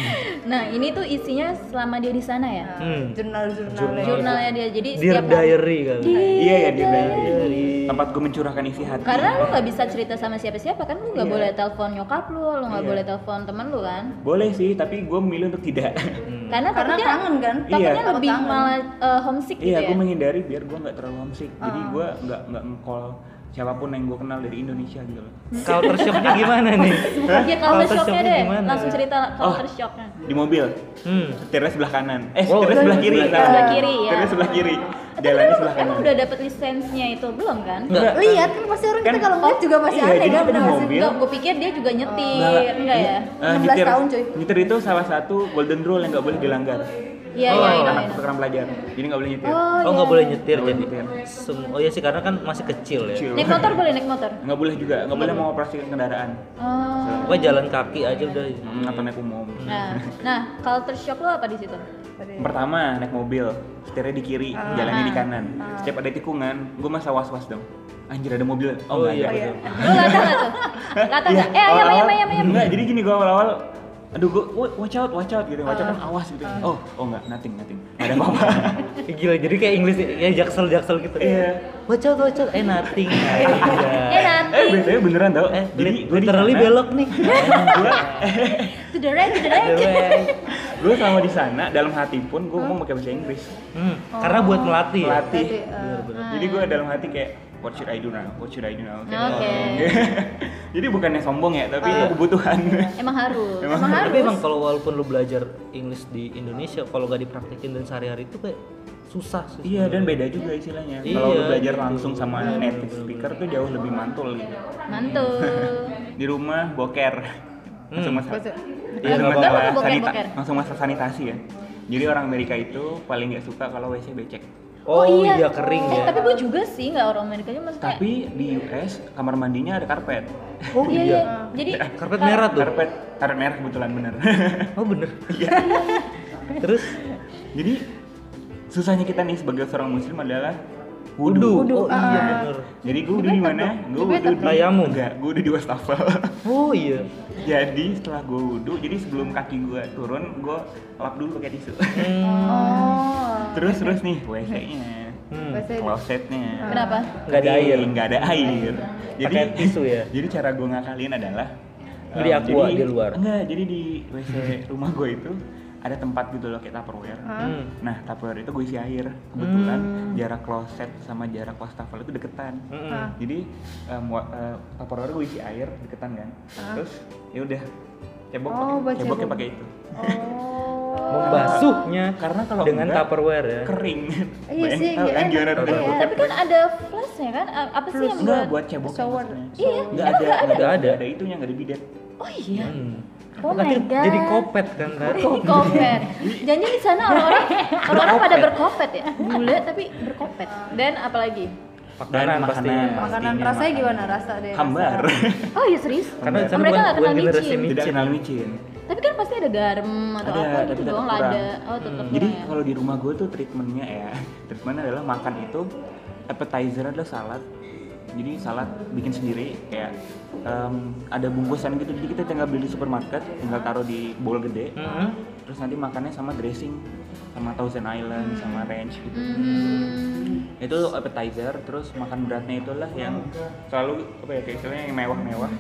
Speaker 2: nah ini tuh isinya selama dia di sana ya.
Speaker 3: Hmm.
Speaker 1: jurnal jurnalnya
Speaker 2: Jurnalnya dia jadi
Speaker 3: Dear
Speaker 2: setiap hari-
Speaker 3: diary kali.
Speaker 2: Dear
Speaker 4: Iya ya di
Speaker 3: Diary.
Speaker 4: tempat gue mencurahkan isi hati.
Speaker 2: Karena lu nggak bisa cerita sama siapa-siapa kan, lu nggak boleh telepon nyokap lu, lu nggak
Speaker 4: Iya.
Speaker 2: boleh telepon temen lu kan.
Speaker 4: Boleh sih, tapi gue memilih untuk tidak.
Speaker 2: Karena
Speaker 1: karena
Speaker 2: takutnya
Speaker 1: kangen kan
Speaker 2: takutnya
Speaker 4: Hmm. Iya.
Speaker 2: lebih
Speaker 1: Takut kangen.
Speaker 2: malah eh, homesick gitu
Speaker 4: Iya,
Speaker 2: ya.
Speaker 4: gue menghindari biar gue nggak terlalu homesick. Jadi
Speaker 2: Uh-huh.
Speaker 4: gue nggak nggak ngcall siapapun yang gue kenal dari Indonesia gitu loh.
Speaker 3: Culture shocknya gimana nih?
Speaker 4: Eh,
Speaker 2: Iya kalau
Speaker 3: Culture
Speaker 2: shocknya
Speaker 3: shocknya
Speaker 2: deh,
Speaker 3: gimana?
Speaker 2: langsung cerita
Speaker 4: Oh.
Speaker 2: culture shocknya.
Speaker 4: Di mobil,
Speaker 3: Hmm.
Speaker 4: setirnya sebelah kanan. Eh,
Speaker 3: Wow.
Speaker 4: setirnya sebelah kiri.
Speaker 3: Oh, Sebelah
Speaker 4: salah.
Speaker 2: kiri, ya.
Speaker 4: Setirnya sebelah kiri.
Speaker 2: Tapi
Speaker 4: Jalannya
Speaker 2: lu
Speaker 4: sebelah kanan.
Speaker 2: emang udah dapet lisensinya itu belum kan?
Speaker 3: Enggak.
Speaker 1: lihat kan pasti orang kita
Speaker 4: Kan-
Speaker 1: kalau ngeliat juga masih
Speaker 4: iya,
Speaker 1: aneh
Speaker 4: jadi
Speaker 1: kan
Speaker 4: kita di
Speaker 1: bener nggak sih?
Speaker 4: mobil.
Speaker 2: Enggak, gue pikir dia juga nyetir,
Speaker 4: Nggak.
Speaker 2: enggak ya?
Speaker 4: Eh,
Speaker 1: 16
Speaker 4: nyetir,
Speaker 1: tahun, cuy.
Speaker 4: nyetir itu salah satu golden rule yang nggak boleh dilanggar.
Speaker 2: Iya,
Speaker 3: Oh.
Speaker 2: iya, iya,
Speaker 4: Anak
Speaker 2: iya.
Speaker 4: sekarang pelajar, jadi nggak boleh nyetir.
Speaker 3: Oh,
Speaker 1: iya.
Speaker 3: nggak boleh nyetir
Speaker 4: Nggak boleh
Speaker 3: jadi.
Speaker 4: nyetir.
Speaker 3: Sem- Oh iya sih karena kan masih kecil ya.
Speaker 4: Kecil.
Speaker 2: Naik motor boleh naik motor?
Speaker 4: Nggak boleh juga, nggak boleh mau operasikan kendaraan
Speaker 2: Oh.
Speaker 3: Pokoknya jalan kaki aja udah.
Speaker 4: Hmm, atau naik umum.
Speaker 2: Nah, nah culture shock lo apa di situ?
Speaker 4: Yang pertama naik mobil, setirnya di kiri,
Speaker 2: Ah.
Speaker 4: jalannya di kanan. Setiap ada tikungan, gue masa was-was dong. Anjir ada mobil. Oh, nggak
Speaker 3: iya,
Speaker 4: ada.
Speaker 3: iya.
Speaker 2: Lo latah nggak tuh? Latah nggak?
Speaker 4: Iya.
Speaker 2: Eh,
Speaker 4: Oh,
Speaker 2: ayam, ayam, ayam, ayam.
Speaker 4: Enggak, jadi gini gue awal-awal aduh gue watch out, watch out gitu. Watch out kan
Speaker 2: Ah.
Speaker 4: awas gitu. Oh, oh enggak, nothing, nothing. Nggak ada apa-apa.
Speaker 3: Ih, Gila jadi kayak Inggris ya jaksel jaksel gitu.
Speaker 4: Iya.
Speaker 3: Wacot wacot eh nothing. Iya.
Speaker 2: Eh, nanti.
Speaker 4: eh, biasanya beneran tau.
Speaker 3: Eh,
Speaker 4: jadi
Speaker 3: lit-
Speaker 4: gue di
Speaker 3: literally
Speaker 4: sana,
Speaker 3: belok nih.
Speaker 4: Gue
Speaker 2: To the right, to the right.
Speaker 4: gue sama di sana dalam hati pun gue ngomong pakai bahasa Inggris.
Speaker 3: Hmm, Karena buat melatih. ya?
Speaker 4: Melatih.
Speaker 3: Bener-bener.
Speaker 4: Jadi gue dalam hati kayak what should I do now? What should I do now? Kayak
Speaker 2: Oke. Ah.
Speaker 4: gitu. jadi bukannya sombong ya, tapi itu kebutuhan.
Speaker 2: Emang harus.
Speaker 4: Emang
Speaker 3: Tapi emang kalau walaupun lu belajar Inggris di Indonesia, kalau gak dipraktekin dan sehari-hari itu kayak susah sih.
Speaker 4: Iya dan beda juga istilahnya.
Speaker 3: Iya,
Speaker 4: Kalau lu belajar
Speaker 3: gitu.
Speaker 4: langsung sama native speaker tuh jauh lebih mantul gitu.
Speaker 2: Mantul.
Speaker 4: Di rumah boker. Langsung masak.
Speaker 3: Hmm.
Speaker 1: Maksud-
Speaker 2: Iya,
Speaker 4: Iya, langsung
Speaker 2: boker,
Speaker 4: masak
Speaker 2: boker,
Speaker 4: sanita-
Speaker 2: boker.
Speaker 4: Langsung masak sanitasi ya. Jadi orang Amerika itu paling nggak suka kalau WC becek.
Speaker 3: Oh, iya. kering
Speaker 2: eh,
Speaker 3: ya.
Speaker 2: tapi gue juga sih nggak orang Amerika aja maksudnya
Speaker 4: Tapi di US kamar mandinya ada karpet.
Speaker 3: Oh
Speaker 2: iya iya jadi
Speaker 3: Karpet merah tuh.
Speaker 4: Karpet, karpet merah kebetulan bener.
Speaker 3: Oh bener.
Speaker 4: Iya.
Speaker 3: Terus
Speaker 4: Jadi susahnya kita nih sebagai seorang muslim adalah
Speaker 3: wudhu.
Speaker 1: Wudhu,
Speaker 4: wudhu.
Speaker 3: Oh iya
Speaker 1: ah.
Speaker 3: bener.
Speaker 4: Jadi gue wudhu
Speaker 1: Di
Speaker 4: di
Speaker 1: bathtub
Speaker 4: mana?
Speaker 1: dong?
Speaker 4: Gue
Speaker 1: Di
Speaker 4: wudhu
Speaker 1: bathtub.
Speaker 4: di
Speaker 3: Tayammum.
Speaker 4: Enggak, gue udah di wastafel.
Speaker 3: Oh iya.
Speaker 4: Jadi setelah gue wudhu, jadi sebelum kaki gue turun, gue lap dulu pakai tisu.
Speaker 3: Hmm.
Speaker 1: Oh.
Speaker 4: terus terus nih WC-nya,
Speaker 3: Hmm.
Speaker 1: Bahasa-
Speaker 4: klosetnya.
Speaker 2: kenapa
Speaker 3: Nggak ada air.
Speaker 4: Nggak ada air. Jadi
Speaker 3: Pakai tisu ya?
Speaker 4: Jadi cara gue ngakalin adalah
Speaker 3: Beli
Speaker 4: em,
Speaker 3: aqua
Speaker 4: jadi-
Speaker 3: di luar.
Speaker 4: Enggak, jadi di WC rumah gue itu ada tempat gitu loh kayak Tupperware.
Speaker 1: Ah.
Speaker 3: Hmm.
Speaker 4: Nah, Tupperware itu gue isi air. Kebetulan
Speaker 1: Hmm.
Speaker 4: jarak kloset sama jarak wastafel itu deketan. Nah,
Speaker 3: Mm-mm.
Speaker 1: Ah.
Speaker 4: Jadi em, wa- eh, Tupperware gue isi air deketan kan. Terus ya udah cebok
Speaker 1: Ah. Oh, buat
Speaker 4: pakai ceboknya
Speaker 1: cebok.
Speaker 4: pakai itu.
Speaker 1: Oh.
Speaker 3: Membasuhnya
Speaker 4: Ah. Karena kalau
Speaker 3: dengan
Speaker 4: enggak,
Speaker 3: tupperware ya.
Speaker 4: kering.
Speaker 1: Iya sih,
Speaker 4: Bayangin,
Speaker 1: nggak
Speaker 4: kan
Speaker 1: enak.
Speaker 4: gimana
Speaker 1: Iya.
Speaker 4: rasanya?
Speaker 2: tapi kan ada flashnya kan A- apa sih
Speaker 3: Nah,
Speaker 2: yang
Speaker 4: Enggak buat cebok
Speaker 1: Shower.
Speaker 2: Iya, emang
Speaker 4: enggak ada,
Speaker 2: nggak
Speaker 4: enggak
Speaker 3: ada?
Speaker 4: ada, ada itunya, enggak ada bidet.
Speaker 2: oh iya
Speaker 3: Hmm.
Speaker 2: Oh
Speaker 3: Nanti
Speaker 2: my God.
Speaker 3: jadi kopet kan kan?
Speaker 2: Kopet. Janji di sana orang-orang orang-orang pada berkopet ya. Bule tapi berkopet. Dan apalagi?
Speaker 3: Makanan
Speaker 4: Dan
Speaker 3: pasti.
Speaker 4: makanan.
Speaker 1: Makanan
Speaker 4: Pastinya
Speaker 1: rasanya
Speaker 4: makanan.
Speaker 1: gimana rasa deh?
Speaker 4: Hambar.
Speaker 2: Oh iya serius?
Speaker 3: Karena di
Speaker 2: Oh,
Speaker 3: sana
Speaker 2: mereka
Speaker 3: bukan-
Speaker 2: nggak kenal
Speaker 3: bukan generasi
Speaker 2: micin.
Speaker 3: ini.
Speaker 4: Tidak kenal micin.
Speaker 2: Tapi kan pasti ada garam atau apa
Speaker 4: Ada, tapi
Speaker 2: gitu
Speaker 4: tetap
Speaker 2: doang
Speaker 4: kurang. Hmm.
Speaker 2: ada. Oh tetap
Speaker 4: Jadi
Speaker 2: kurang ya.
Speaker 4: kalau di rumah gue tuh treatmentnya ya, treatmentnya adalah makan itu appetizer adalah salad. Jadi salad bikin sendiri kayak em, ada bungkusan gitu, jadi kita tinggal beli di supermarket, tinggal taruh di bowl gede,
Speaker 2: Hmm.
Speaker 3: Mm-mm.
Speaker 4: terus nanti makannya sama dressing, sama Thousand Island, sama ranch gitu.
Speaker 2: Hmm.
Speaker 4: itu appetizer terus makan beratnya itulah yang selalu apa ya kayak istilahnya yang mewah-mewah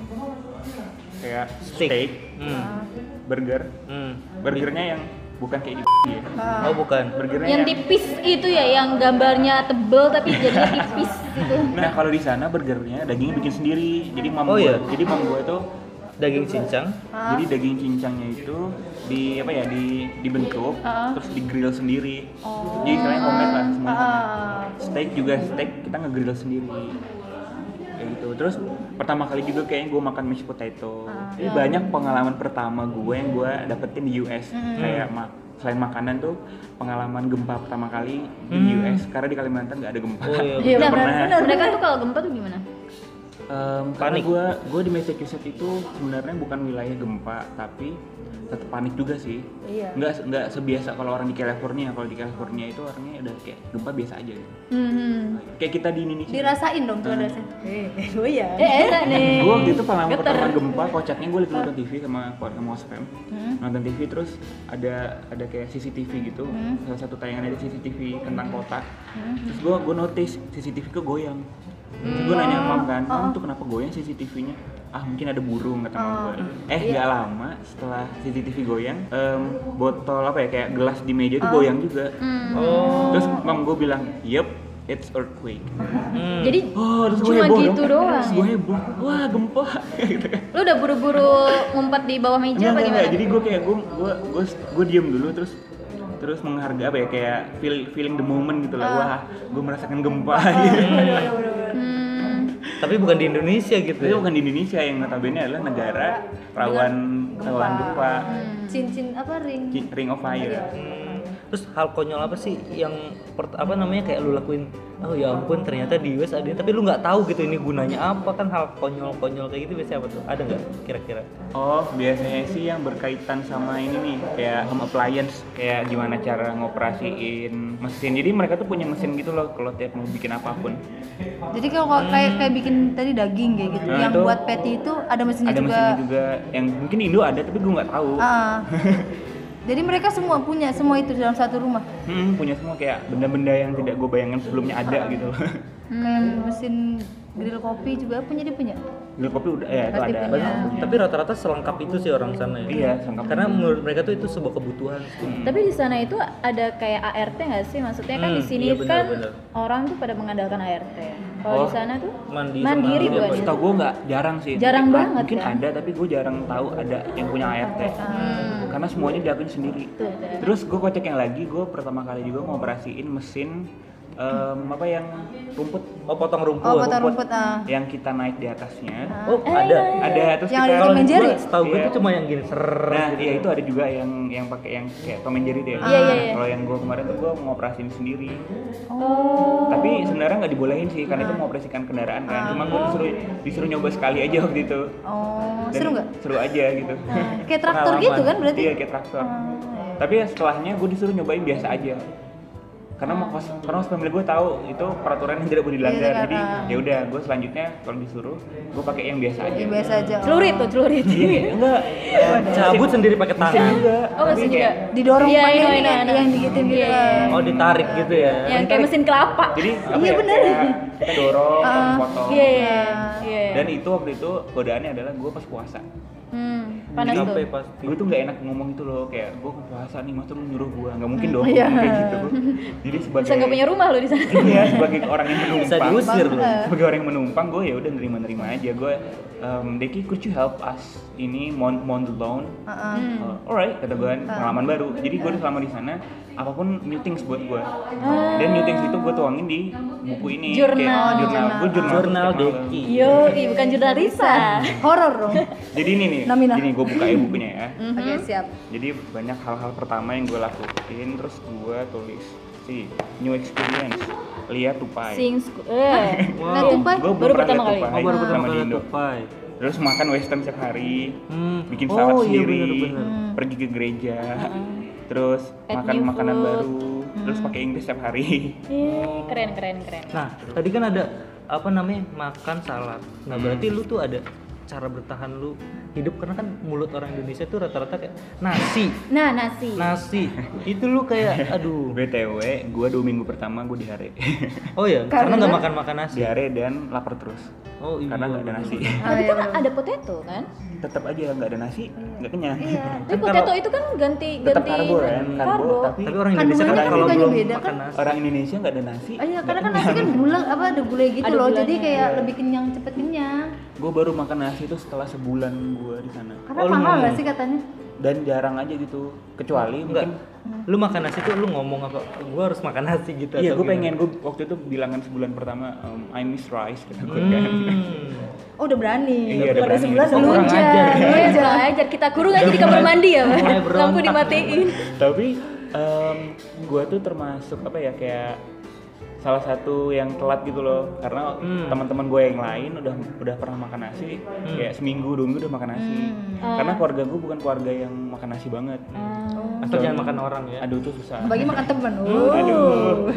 Speaker 4: kayak
Speaker 3: Steak.
Speaker 4: steak,
Speaker 3: Hmm.
Speaker 4: burger
Speaker 3: Hmm.
Speaker 4: burgernya yang bukan kayak di ya
Speaker 3: Oh bukan.
Speaker 4: burgernya
Speaker 2: Yang tipis itu ya yang gambarnya tebel tapi jadinya tipis gitu.
Speaker 4: nah kalau di sana burgernya dagingnya bikin sendiri jadi mam
Speaker 3: Oh,
Speaker 4: gua-
Speaker 3: iya?
Speaker 4: jadi mam gua itu
Speaker 3: Daging cincang.
Speaker 1: Ah.
Speaker 4: jadi daging cincangnya itu di apa ya di dibentuk
Speaker 1: Ah. Oh.
Speaker 4: terus di grill sendiri jadi istilahnya homemade lah semuanya homemade.
Speaker 1: Ah.
Speaker 4: steak juga steak kita ngegrill sendiri kayak gitu terus pertama kali juga kayaknya gue makan mashed potato
Speaker 1: Ah.
Speaker 4: Jadi banyak pengalaman pertama gue yang gue dapetin di US
Speaker 1: Hmm.
Speaker 4: kayak ma- selain makanan tuh pengalaman gempa pertama kali di
Speaker 1: Hmm.
Speaker 4: US karena di Kalimantan nggak ada gempa
Speaker 3: Oh, iya,
Speaker 1: Iya
Speaker 4: Nggak
Speaker 1: benar.
Speaker 4: pernah ya?
Speaker 1: Benar.
Speaker 2: Mereka tuh kalau gempa tuh gimana?
Speaker 4: Em, karena
Speaker 3: Panik.
Speaker 4: gue gue di Massachusetts itu sebenarnya bukan wilayah gempa tapi tetap panik juga sih
Speaker 1: Iya.
Speaker 4: nggak nggak sebiasa kalau orang di California kalau di California itu orangnya udah kayak gempa biasa aja gitu.
Speaker 1: Hmm.
Speaker 4: kayak kita di Indonesia
Speaker 1: Dirasain dong tuh rasanya. Eh, oh iya.
Speaker 2: Eh enak nih.
Speaker 4: gue waktu itu pengalaman
Speaker 2: Geter.
Speaker 4: pertama gempa kocaknya gue liat nonton TV sama keluarga Mas Fem
Speaker 2: Hmm.
Speaker 4: nonton TV terus ada ada kayak CCTV gitu
Speaker 2: Hmm.
Speaker 4: salah satu tayangan ada CCTV tentang kota terus gue gue notice CCTV ke goyang terus gue
Speaker 2: Hmm.
Speaker 4: nanya sama mam
Speaker 2: Oh,
Speaker 4: kan mam tuh kenapa goyang CCTV-nya ah mungkin ada burung kata mam
Speaker 2: Oh,
Speaker 4: gue eh
Speaker 2: Iya.
Speaker 4: nggak lama setelah CCTV goyang em, botol apa ya kayak gelas di meja tuh goyang juga
Speaker 3: Oh.
Speaker 4: terus mam gue bilang yep it's earthquake
Speaker 3: Hmm.
Speaker 2: Jadi
Speaker 4: Oh, terus gue
Speaker 2: cuma
Speaker 4: heboh
Speaker 2: gitu
Speaker 4: dong.
Speaker 2: doang.
Speaker 4: Terus gue heboh. Wah, gempa. gitu kan.
Speaker 2: Lu udah buru-buru ngumpet di bawah meja apa
Speaker 4: Enggak, enggak,
Speaker 2: gimana?
Speaker 4: enggak. Jadi gue kayak gue gue gue gue diem dulu terus terus menghargai apa ya kayak feel, feeling the moment gitu lah. Wah, gue merasakan gempa. gitu.
Speaker 2: Hmm,
Speaker 3: Tapi bukan di Indonesia gitu
Speaker 4: Itu
Speaker 3: ya.
Speaker 4: bukan di Indonesia yang notabene adalah negara rawan rawan gempa.
Speaker 1: Hmm. Cincin apa ring?
Speaker 4: Ki- Ring of Fire.
Speaker 3: Hmm. Terus hal konyol apa sih yang per- apa namanya kayak lu lakuin? Oh ya ampun ternyata di US ada ini." tapi lu nggak tahu gitu ini gunanya apa kan hal konyol-konyol kayak gitu biasanya apa tuh? Ada nggak kira-kira?
Speaker 4: Oh, biasanya sih yang berkaitan sama ini nih, kayak home appliance, kayak gimana cara ngoperasiin mesin. Jadi mereka tuh punya mesin gitu loh kalau tiap mau bikin apapun.
Speaker 1: Jadi kalau kalau kayak kayak bikin tadi daging kayak gitu,
Speaker 4: Nah,
Speaker 1: yang
Speaker 4: itu-
Speaker 1: buat patty itu ada mesinnya
Speaker 4: ada
Speaker 1: juga.
Speaker 4: mesinnya juga yang mungkin Indo ada tapi gue nggak tahu
Speaker 1: Ah. Jadi mereka semua punya semua itu dalam satu rumah.
Speaker 4: Hmm, punya semua kayak benda-benda yang tidak gue bayangkan sebelumnya ada gitu loh
Speaker 1: Kayak mesin grill kopi juga punya dia punya.
Speaker 4: Grill kopi udah ya itu
Speaker 1: Pasti
Speaker 4: ada
Speaker 1: punya.
Speaker 3: Tapi rata-rata selengkap itu sih orang sana ya.
Speaker 4: iya sangkap
Speaker 3: Karena menurut mereka tuh itu sebuah kebutuhan. sih.
Speaker 2: Tapi di sana itu ada kayak ART nggak sih? Maksudnya kan
Speaker 3: Hmm,
Speaker 2: di sini
Speaker 3: iya benar,
Speaker 2: kan
Speaker 3: benar.
Speaker 2: orang tuh pada mengandalkan ART. Kalau di
Speaker 3: Oh,
Speaker 2: sana tuh
Speaker 3: mandi sama
Speaker 2: mandiri
Speaker 3: mandi
Speaker 2: buat
Speaker 3: apa?
Speaker 2: itu.
Speaker 4: Setahu gue nggak jarang sih
Speaker 2: Jarang
Speaker 4: Mungkin-
Speaker 2: banget,
Speaker 4: mungkin
Speaker 2: kan?
Speaker 4: ada tapi gue jarang tahu ada yang punya ART karena semuanya diakuin sendiri
Speaker 2: Betul, betul.
Speaker 4: terus gue kocek yang lagi gue pertama kali juga ngoperasiin mesin em, apa yang rumput
Speaker 3: Oh potong rumput.
Speaker 1: Oh, potong rumput. ah.
Speaker 4: yang kita naik di atasnya
Speaker 3: Oh ada.
Speaker 4: ada terus
Speaker 1: Yang
Speaker 4: kita
Speaker 1: ada Tom and Jerry.
Speaker 3: Gua Setahu gue
Speaker 4: Iya.
Speaker 3: tuh cuma yang gini ser.
Speaker 4: Nah, iya itu ada juga yang yang pakai yang kayak Tom and Jerry deh.
Speaker 1: Iya,
Speaker 2: iya, iya.
Speaker 4: Kalau yang gua kemarin tuh gua ngoperasin sendiri.
Speaker 2: Oh.
Speaker 4: Tapi sebenarnya nggak dibolehin sih karena itu mengoperasikan kendaraan kan. Cuma gua disuruh disuruh nyoba sekali aja waktu itu.
Speaker 1: Oh,
Speaker 4: Dan
Speaker 1: seru nggak?
Speaker 4: Seru aja gitu.
Speaker 1: Kayak traktor gitu kan berarti? Ah.
Speaker 4: Iya, kayak traktor. Tapi ya setelahnya gua disuruh nyobain biasa aja. Karena mau kos, karena host family gue tahu itu peraturan yang tidak boleh
Speaker 1: Ah.
Speaker 4: dilanggar.
Speaker 1: Iya,
Speaker 4: Jadi
Speaker 1: karena-
Speaker 4: ya udah, gue selanjutnya kalau disuruh, gue pakai yang biasa aja.
Speaker 1: Ya, biasa aja. oh.
Speaker 2: Celurit tuh, celurit.
Speaker 4: Iya, enggak.
Speaker 3: Cabut sendiri pakai
Speaker 4: Mesin
Speaker 3: tangan.
Speaker 4: juga.
Speaker 2: Oh, mesin
Speaker 4: Tapi
Speaker 2: juga.
Speaker 4: kayak-
Speaker 1: Didorong
Speaker 2: Iya,
Speaker 1: pakai
Speaker 2: iya,
Speaker 1: ini
Speaker 2: iya, iya.
Speaker 1: yang digitin gitu.
Speaker 2: Iya, iya,
Speaker 1: kan.
Speaker 3: Oh ditarik gitu ya.
Speaker 2: Yang Iya, kayak mesin kelapa.
Speaker 4: jadi apa
Speaker 1: Iya,
Speaker 4: ya,
Speaker 1: bener.
Speaker 4: kayak kita dorong kita potong
Speaker 2: Iya, iya, iya.
Speaker 4: dan itu waktu itu godaannya adalah gue pas puasa
Speaker 2: Hmm, panas tuh.
Speaker 3: Sampai pasti.
Speaker 4: gue tuh nggak enak ngomong itu loh kayak gue puasa nih masa lu nyuruh gue nggak mungkin
Speaker 2: Ah,
Speaker 4: dong
Speaker 1: Iya.
Speaker 4: kayak gitu jadi sebagai
Speaker 2: Bisa nggak punya rumah lo di sana.
Speaker 4: Iya, sebagai orang yang
Speaker 3: Bisa
Speaker 4: menumpang
Speaker 3: diusir loh.
Speaker 1: Banget.
Speaker 4: sebagai orang yang menumpang gue ya udah nerima nerima aja gue um, Deki could you help us ini mount mount the loan
Speaker 1: Heeh.
Speaker 2: Hmm.
Speaker 4: Uh, alright kata gue pengalaman baru jadi gue selama di sana apapun meetings buat gue dan meetings itu gue tuangin di buku ini
Speaker 2: Ah. Jurnal.
Speaker 4: Kayak jurnal gue jurnal
Speaker 3: Jurnal
Speaker 4: setiap malam.
Speaker 3: Deki.
Speaker 2: Yo, ih, bukan jurnal Risa.
Speaker 1: Horor dong.
Speaker 4: jadi ini nih
Speaker 1: Nomina.
Speaker 4: ini gue buka ya bukunya ya
Speaker 2: Mm-hmm.
Speaker 1: Oke, siap.
Speaker 4: jadi banyak hal-hal pertama yang gue lakuin terus gue tulis si new experience lihat tupai
Speaker 2: Sing sku- eh.
Speaker 1: Nah, tupai.
Speaker 4: gue
Speaker 2: Baru pertama kali.
Speaker 3: Oh, baru pertama
Speaker 4: sama di
Speaker 3: kali
Speaker 4: Indo
Speaker 3: tupai.
Speaker 4: terus makan western setiap hari
Speaker 3: Hmm.
Speaker 4: bikin
Speaker 3: Oh,
Speaker 4: salad
Speaker 3: iya,
Speaker 4: sendiri
Speaker 3: bener-bener.
Speaker 4: pergi ke gereja terus
Speaker 2: Add
Speaker 4: makan
Speaker 2: new
Speaker 4: makanan
Speaker 2: food.
Speaker 4: baru terus pakai Inggris setiap hari
Speaker 2: Yeay, keren keren keren.
Speaker 3: Nah, tadi kan ada apa namanya makan salad. Nah,
Speaker 4: Hmm.
Speaker 3: berarti lu tuh ada cara bertahan lu hidup karena kan mulut orang Indonesia tuh rata-rata kayak nasi,
Speaker 2: Nah, nasi.
Speaker 3: nasi. Itu lu kayak aduh.
Speaker 4: btw gue dua minggu pertama gue diare
Speaker 3: Oh ya, karena nggak makan makan nasi.
Speaker 4: diare dan lapar terus
Speaker 3: Oh iya.
Speaker 4: karena nggak ada nasi
Speaker 1: Oh,
Speaker 2: Tapi
Speaker 1: iya,
Speaker 2: kan ada potato kan?
Speaker 4: tetap aja nggak ada nasi nggak kenyang
Speaker 2: Tapi potato itu kan ganti
Speaker 4: tetap
Speaker 2: ganti
Speaker 4: karbo kan karbo
Speaker 2: karbo.
Speaker 4: tapi
Speaker 3: Tapi orang Indonesia kan
Speaker 1: Kandungannya kan
Speaker 3: kalau
Speaker 1: juga
Speaker 3: belum
Speaker 1: beda,
Speaker 3: makan
Speaker 1: kan?
Speaker 3: nasi.
Speaker 4: orang Indonesia nggak ada nasi
Speaker 1: Ah, iya, karena kan nasi kan bulan apa ada gulai gitu
Speaker 2: Ada
Speaker 1: loh.
Speaker 2: gulanya,
Speaker 1: Jadi kayak lebih kenyang, cepet kenyang.
Speaker 4: gue baru makan nasi itu setelah sebulan gue di sana
Speaker 1: Karena
Speaker 3: Oh, lu
Speaker 1: mahal
Speaker 3: ngomong.
Speaker 1: gak sih katanya?
Speaker 4: dan jarang aja gitu kecuali
Speaker 3: Enggak.
Speaker 4: mungkin
Speaker 3: Lu makan nasi tuh lu ngomong apa? Gua harus makan nasi gitu
Speaker 4: Iya,
Speaker 3: atau
Speaker 4: gue
Speaker 3: gimana?
Speaker 4: pengen gue waktu itu bilangan sebulan pertama um, I miss rice kata gue kan.
Speaker 3: Hmm.
Speaker 1: Oh, udah berani.
Speaker 4: Iya, udah berani.
Speaker 1: sebelah
Speaker 3: Oh, kurang
Speaker 1: selunjak.
Speaker 3: ajar.
Speaker 2: Iya, kurang ajar. Kita kurung aja di kamar mandi ya, Pak.
Speaker 3: Mulai berontak.
Speaker 2: Lampu dimatiin.
Speaker 4: Tapi um, gue tuh termasuk apa ya kayak salah satu yang telat gitu loh karena
Speaker 3: Hmm.
Speaker 4: teman-teman gue yang lain udah udah pernah makan nasi kayak seminggu dua minggu udah makan nasi
Speaker 1: Hmm.
Speaker 2: Ah.
Speaker 1: Oh.
Speaker 4: karena keluarga gue bukan keluarga yang makan nasi banget
Speaker 2: Oh,
Speaker 3: Asal jangan makan orang ya.
Speaker 4: aduh itu susah
Speaker 1: Bagi makan temen. Oh.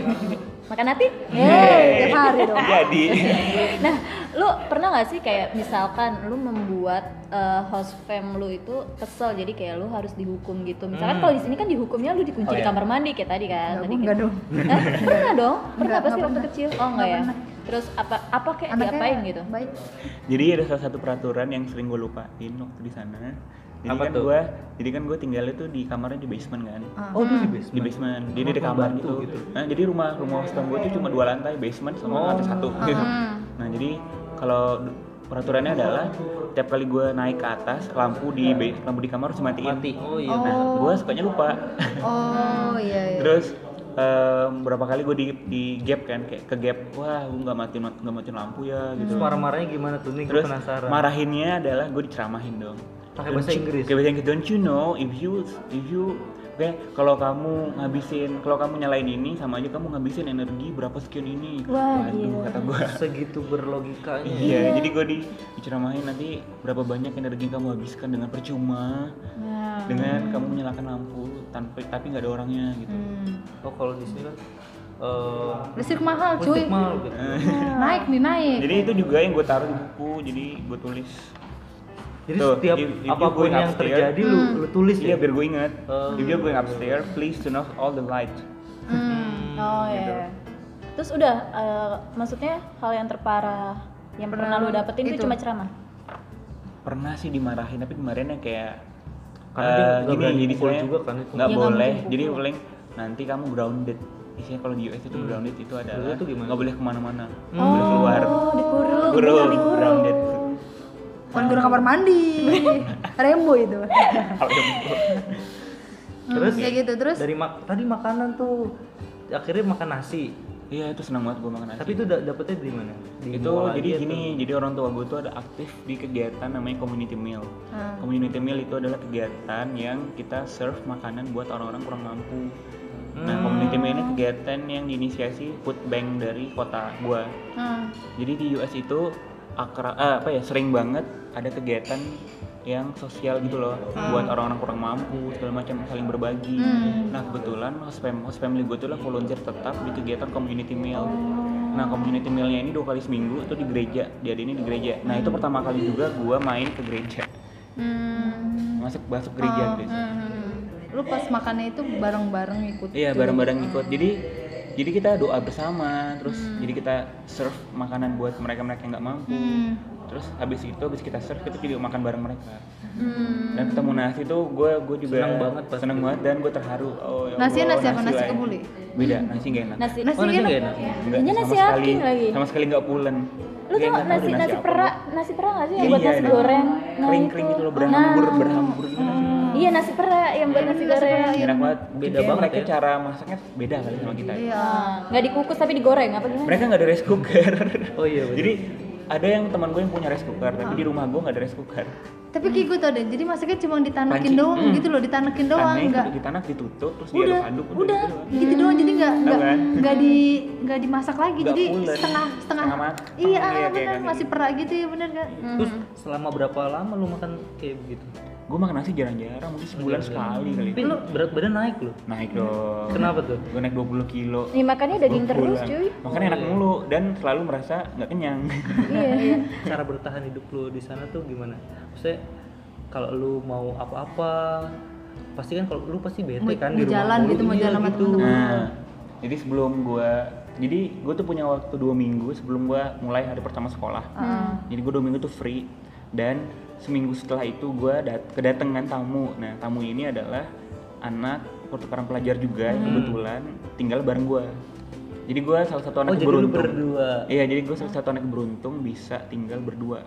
Speaker 2: Makan hati? Ya.
Speaker 1: Yeay, tiap hari dong.
Speaker 4: jadi
Speaker 2: Nah, lu pernah gak sih kayak misalkan lu membuat eh, host fam lu itu kesel jadi kayak lu harus dihukum gitu. Misalkan
Speaker 3: Hmm.
Speaker 2: kalau di sini kan dihukumnya lu dikunci
Speaker 3: Oh,
Speaker 2: di
Speaker 3: iya.
Speaker 2: kamar mandi kayak tadi kan.
Speaker 1: Enggak,
Speaker 2: tadi
Speaker 1: gua
Speaker 2: kita-
Speaker 1: enggak dong.
Speaker 2: Hah? pernah dong? Pernah
Speaker 1: Enggak,
Speaker 2: pasti
Speaker 1: enggak
Speaker 2: waktu
Speaker 1: pernah.
Speaker 2: kecil? Oh enggak ya. Terus apa apa kayak diapain gitu?
Speaker 1: Baik.
Speaker 4: jadi ada salah satu peraturan yang sering gue lupain waktu di sana jadi
Speaker 3: Apa
Speaker 4: kan
Speaker 3: tuh?
Speaker 4: gue jadi kan gue tinggalnya tuh di kamarnya di basement kan
Speaker 1: Ah.
Speaker 3: Oh, itu di basement.
Speaker 4: di basement jadi
Speaker 3: Rumah
Speaker 4: ada kamar
Speaker 3: pembantu
Speaker 4: gitu,
Speaker 3: gitu.
Speaker 4: Nah, jadi rumah rumah hostel gue itu cuma dua lantai basement
Speaker 3: Oh.
Speaker 4: sama lantai satu
Speaker 2: Hmm.
Speaker 4: nah jadi kalau d- peraturannya adalah tiap kali gue naik ke atas lampu di ba- lampu di kamar harus dimatiin
Speaker 3: Mati. Oh iya.
Speaker 4: nah gue sukanya lupa
Speaker 1: Oh, iya iya.
Speaker 4: terus em, berapa kali gue di, di gap kan kayak ke gap wah gue nggak matiin nggak matiin lampu ya
Speaker 1: Oh.
Speaker 4: gitu
Speaker 3: Terus marah-marahnya gimana tuh nih? Gua
Speaker 4: Terus
Speaker 3: penasaran.
Speaker 4: marahinnya adalah gue diceramahin dong.
Speaker 3: Pakai
Speaker 4: Don't
Speaker 3: bahasa
Speaker 4: you-
Speaker 3: Inggris.
Speaker 4: Pakai bahasa Inggris. Don't you know if you if you Oke, kalau kamu ngabisin, kalau kamu nyalain ini sama aja kamu ngabisin energi berapa sekian ini.
Speaker 2: Wah,
Speaker 4: Waduh, kata gue.
Speaker 3: Segitu berlogikanya.
Speaker 4: Iya, jadi gue di, diceramahin nanti berapa banyak energi yang kamu habiskan dengan percuma,
Speaker 2: Nah.
Speaker 4: dengan kamu menyalakan lampu tanpa tapi nggak ada orangnya gitu.
Speaker 1: Hmm.
Speaker 3: Oh kalau di sini kan eh
Speaker 1: Listrik mahal, cuy.
Speaker 3: listrik mahal gitu.
Speaker 4: Eh,
Speaker 1: Naik nih, naik.
Speaker 4: Jadi itu juga yang gue taruh di buku, jadi gue tulis.
Speaker 3: Jadi
Speaker 4: Tuh,
Speaker 3: setiap
Speaker 4: if- if you
Speaker 3: apapun
Speaker 4: going
Speaker 3: yang
Speaker 4: upstairs-
Speaker 3: terjadi lu lu tulis
Speaker 4: Iya,
Speaker 3: ya.
Speaker 4: biar gue ingat.
Speaker 3: Oh.
Speaker 4: If you're going upstairs, please turn off all the lights.
Speaker 2: Hmm. Oh iya. Terus udah eh, maksudnya hal yang terparah yang pernah lu dapetin
Speaker 1: Itu.
Speaker 2: itu cuma ceramah.
Speaker 4: pernah sih dimarahin tapi kemarinnya kayak eh,
Speaker 3: Karena dia nggak berani pukul
Speaker 4: istilahnya
Speaker 3: juga kan itu.
Speaker 4: nggak
Speaker 2: Iya, nggak
Speaker 4: boleh
Speaker 2: mungkin
Speaker 4: jadi paling nanti kamu grounded isinya kalau di US itu grounded itu adalah
Speaker 3: Dulu Hmm. tuh gimana?
Speaker 4: nggak boleh kemana-mana nggak boleh keluar
Speaker 2: Oh, dikurung.
Speaker 4: Kurung, grounded
Speaker 1: Bukan guru kamar mandi. Rembo itu.
Speaker 3: Terus
Speaker 1: kayak gitu terus
Speaker 3: dari mak tadi makanan tuh akhirnya makan nasi.
Speaker 4: Iya itu senang banget gue makan nasi.
Speaker 3: Tapi itu da- dapetnya dari mana? Di
Speaker 4: itu
Speaker 3: mall
Speaker 4: jadi
Speaker 3: aja
Speaker 4: gini jadi orang tua gue tuh ada aktif di kegiatan namanya community meal community meal itu adalah kegiatan yang kita serve makanan buat orang-orang kurang mampu nah community meal ini kegiatan yang diinisiasi food bank dari kota gue
Speaker 1: Hmm.
Speaker 4: jadi di US itu akra- eh, apa ya sering banget ada kegiatan yang sosial gitu loh buat orang-orang kurang mampu segala macam saling berbagi nah kebetulan host fam- host family gue tuh lah volunteer tetap di kegiatan community meal nah community mealnya ini dua kali seminggu itu di gereja jadi ini di gereja nah itu pertama kali juga gue main ke gereja masuk masuk gereja
Speaker 2: Oh.
Speaker 4: guys
Speaker 1: Hmm. Lu pas makannya itu bareng-bareng ikut.
Speaker 4: Iya bareng-bareng ikut. Jadi jadi kita doa bersama, terus
Speaker 2: Hmm.
Speaker 4: jadi kita serve makanan buat mereka-mereka yang nggak mampu.
Speaker 1: Hmm.
Speaker 4: Terus habis itu habis kita serve kita juga makan bareng mereka.
Speaker 2: Hmm.
Speaker 4: Dan ketemu nasi tuh gue gue juga
Speaker 3: Senang banget gitu. pasti.
Speaker 4: senang banget dan gue terharu. Oh, ya
Speaker 1: Nasi
Speaker 4: Allah,
Speaker 1: nasi apa? Nasi
Speaker 4: lain.
Speaker 1: kebuli?
Speaker 4: Beda nasi gak enak.
Speaker 2: nasi
Speaker 1: Nasi
Speaker 3: Oh, nasi
Speaker 1: enak.
Speaker 3: nggak enak?
Speaker 4: Nggak,
Speaker 2: Ini
Speaker 4: sama
Speaker 2: nasi
Speaker 4: sekali,
Speaker 2: aking lagi.
Speaker 4: Sama sekali nggak pulen.
Speaker 2: lu tau
Speaker 4: Kayak Iya, nggak
Speaker 2: nasi
Speaker 4: tahu
Speaker 2: nasi
Speaker 4: apa.
Speaker 2: perak nasi perak nggak sih yang buat
Speaker 4: Iya,
Speaker 2: nasi
Speaker 4: ada.
Speaker 2: goreng Nah,
Speaker 4: Kering-kering gitu loh berhambur berhambur gitu nasi.
Speaker 2: iya nasi perak yang buat nasi goreng
Speaker 4: Enak banget.
Speaker 3: Beda
Speaker 4: Kayak
Speaker 3: banget
Speaker 4: mereka
Speaker 3: ya.
Speaker 4: cara masaknya beda kali sama kita. ya.
Speaker 1: Iya.
Speaker 2: Nah, nggak dikukus tapi digoreng apa gimana
Speaker 4: mereka nggak ada rice cooker
Speaker 3: Oh iya, betul.
Speaker 4: jadi ada yang teman gue yang punya rice cooker tapi di rumah gue nggak ada rice cooker
Speaker 1: Tapi kayak gue tau deh, jadi masaknya cuma ditanekin
Speaker 4: Panci.
Speaker 1: doang gitu loh, ditanekin doang
Speaker 4: Hmm. aneh
Speaker 1: enggak.
Speaker 4: di tanah ditutup terus
Speaker 1: Udah,
Speaker 4: diaduk-aduk
Speaker 1: udah,
Speaker 4: gitu doang.
Speaker 1: gitu doang jadi nggak nggak
Speaker 4: Apaan?
Speaker 1: nggak di nggak dimasak lagi
Speaker 4: Nggak
Speaker 1: jadi
Speaker 4: pulen.
Speaker 1: setengah setengah,
Speaker 4: Setengah matang,
Speaker 1: iya,
Speaker 4: iya,
Speaker 1: ah,
Speaker 4: kayak
Speaker 1: benar
Speaker 4: gitu.
Speaker 1: masih perak gitu ya benar kan
Speaker 3: Terus selama berapa lama lu makan kayak begitu?
Speaker 4: gue makan nasi jarang-jarang mungkin sebulan sekali kali
Speaker 3: Tapi lu berat badan naik lu.
Speaker 4: naik dong
Speaker 3: Kenapa tuh?
Speaker 4: gue naik 20 kilo
Speaker 2: nih makannya daging terus
Speaker 4: Sebulan.
Speaker 2: cuy
Speaker 4: makanya enak mulu dan selalu merasa nggak kenyang
Speaker 2: iya
Speaker 3: Cara bertahan hidup lu di sana tuh gimana? Maksudnya kalau lu mau apa-apa pasti kan kalau lu pasti bete
Speaker 1: Mau-
Speaker 3: kan
Speaker 1: mau
Speaker 3: di rumah
Speaker 1: jalan
Speaker 3: mulu.
Speaker 1: gitu, mau
Speaker 3: Iya,
Speaker 1: jalan sama
Speaker 3: gitu.
Speaker 1: temen-temen.
Speaker 4: nah jadi sebelum gue jadi gue tuh punya waktu dua minggu sebelum gue mulai hari pertama sekolah
Speaker 1: Hmm.
Speaker 4: jadi gue dua minggu tuh free dan seminggu setelah itu gue dat kedatangan tamu nah tamu ini adalah anak pertukaran pelajar juga
Speaker 3: Hmm.
Speaker 4: yang kebetulan tinggal bareng gue jadi gue salah satu
Speaker 3: Oh
Speaker 4: anak
Speaker 3: jadi lu
Speaker 4: beruntung
Speaker 3: berdua.
Speaker 4: iya jadi gue salah satu anak beruntung bisa tinggal berdua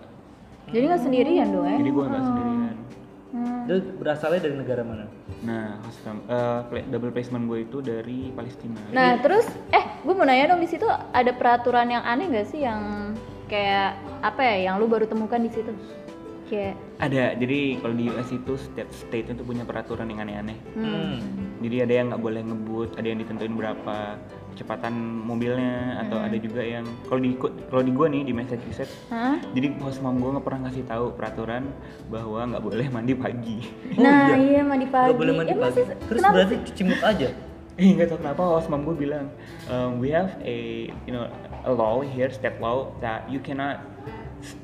Speaker 2: jadi nggak sendirian dong ya
Speaker 4: jadi gue
Speaker 3: Oh.
Speaker 4: nggak sendirian
Speaker 3: Lu berasalnya dari negara mana?
Speaker 4: nah host fam- eh, pla- double placement gue itu dari Palestina
Speaker 2: Nah terus, eh gue mau nanya dong di situ ada peraturan yang aneh gak sih yang kayak apa ya yang lu baru temukan di situ? Kayak
Speaker 4: ada jadi kalau di US itu setiap state itu punya peraturan yang aneh-aneh
Speaker 3: Hmm.
Speaker 4: jadi ada yang nggak boleh ngebut ada yang ditentuin berapa kecepatan mobilnya atau ada juga yang kalau di ku- kalau di gua nih di Massachusetts
Speaker 2: Hah?
Speaker 4: jadi host mom gua nggak pernah ngasih tahu peraturan bahwa nggak boleh mandi pagi
Speaker 2: nah iya, mandi pagi.
Speaker 3: Gak boleh mandi
Speaker 2: Eh,
Speaker 3: pagi.
Speaker 2: masih-
Speaker 3: Terus
Speaker 2: kenapa
Speaker 3: berarti cuci muka aja.
Speaker 4: eh nggak tahu kenapa host mom gua bilang "Um, we have a you know a law here state law that you cannot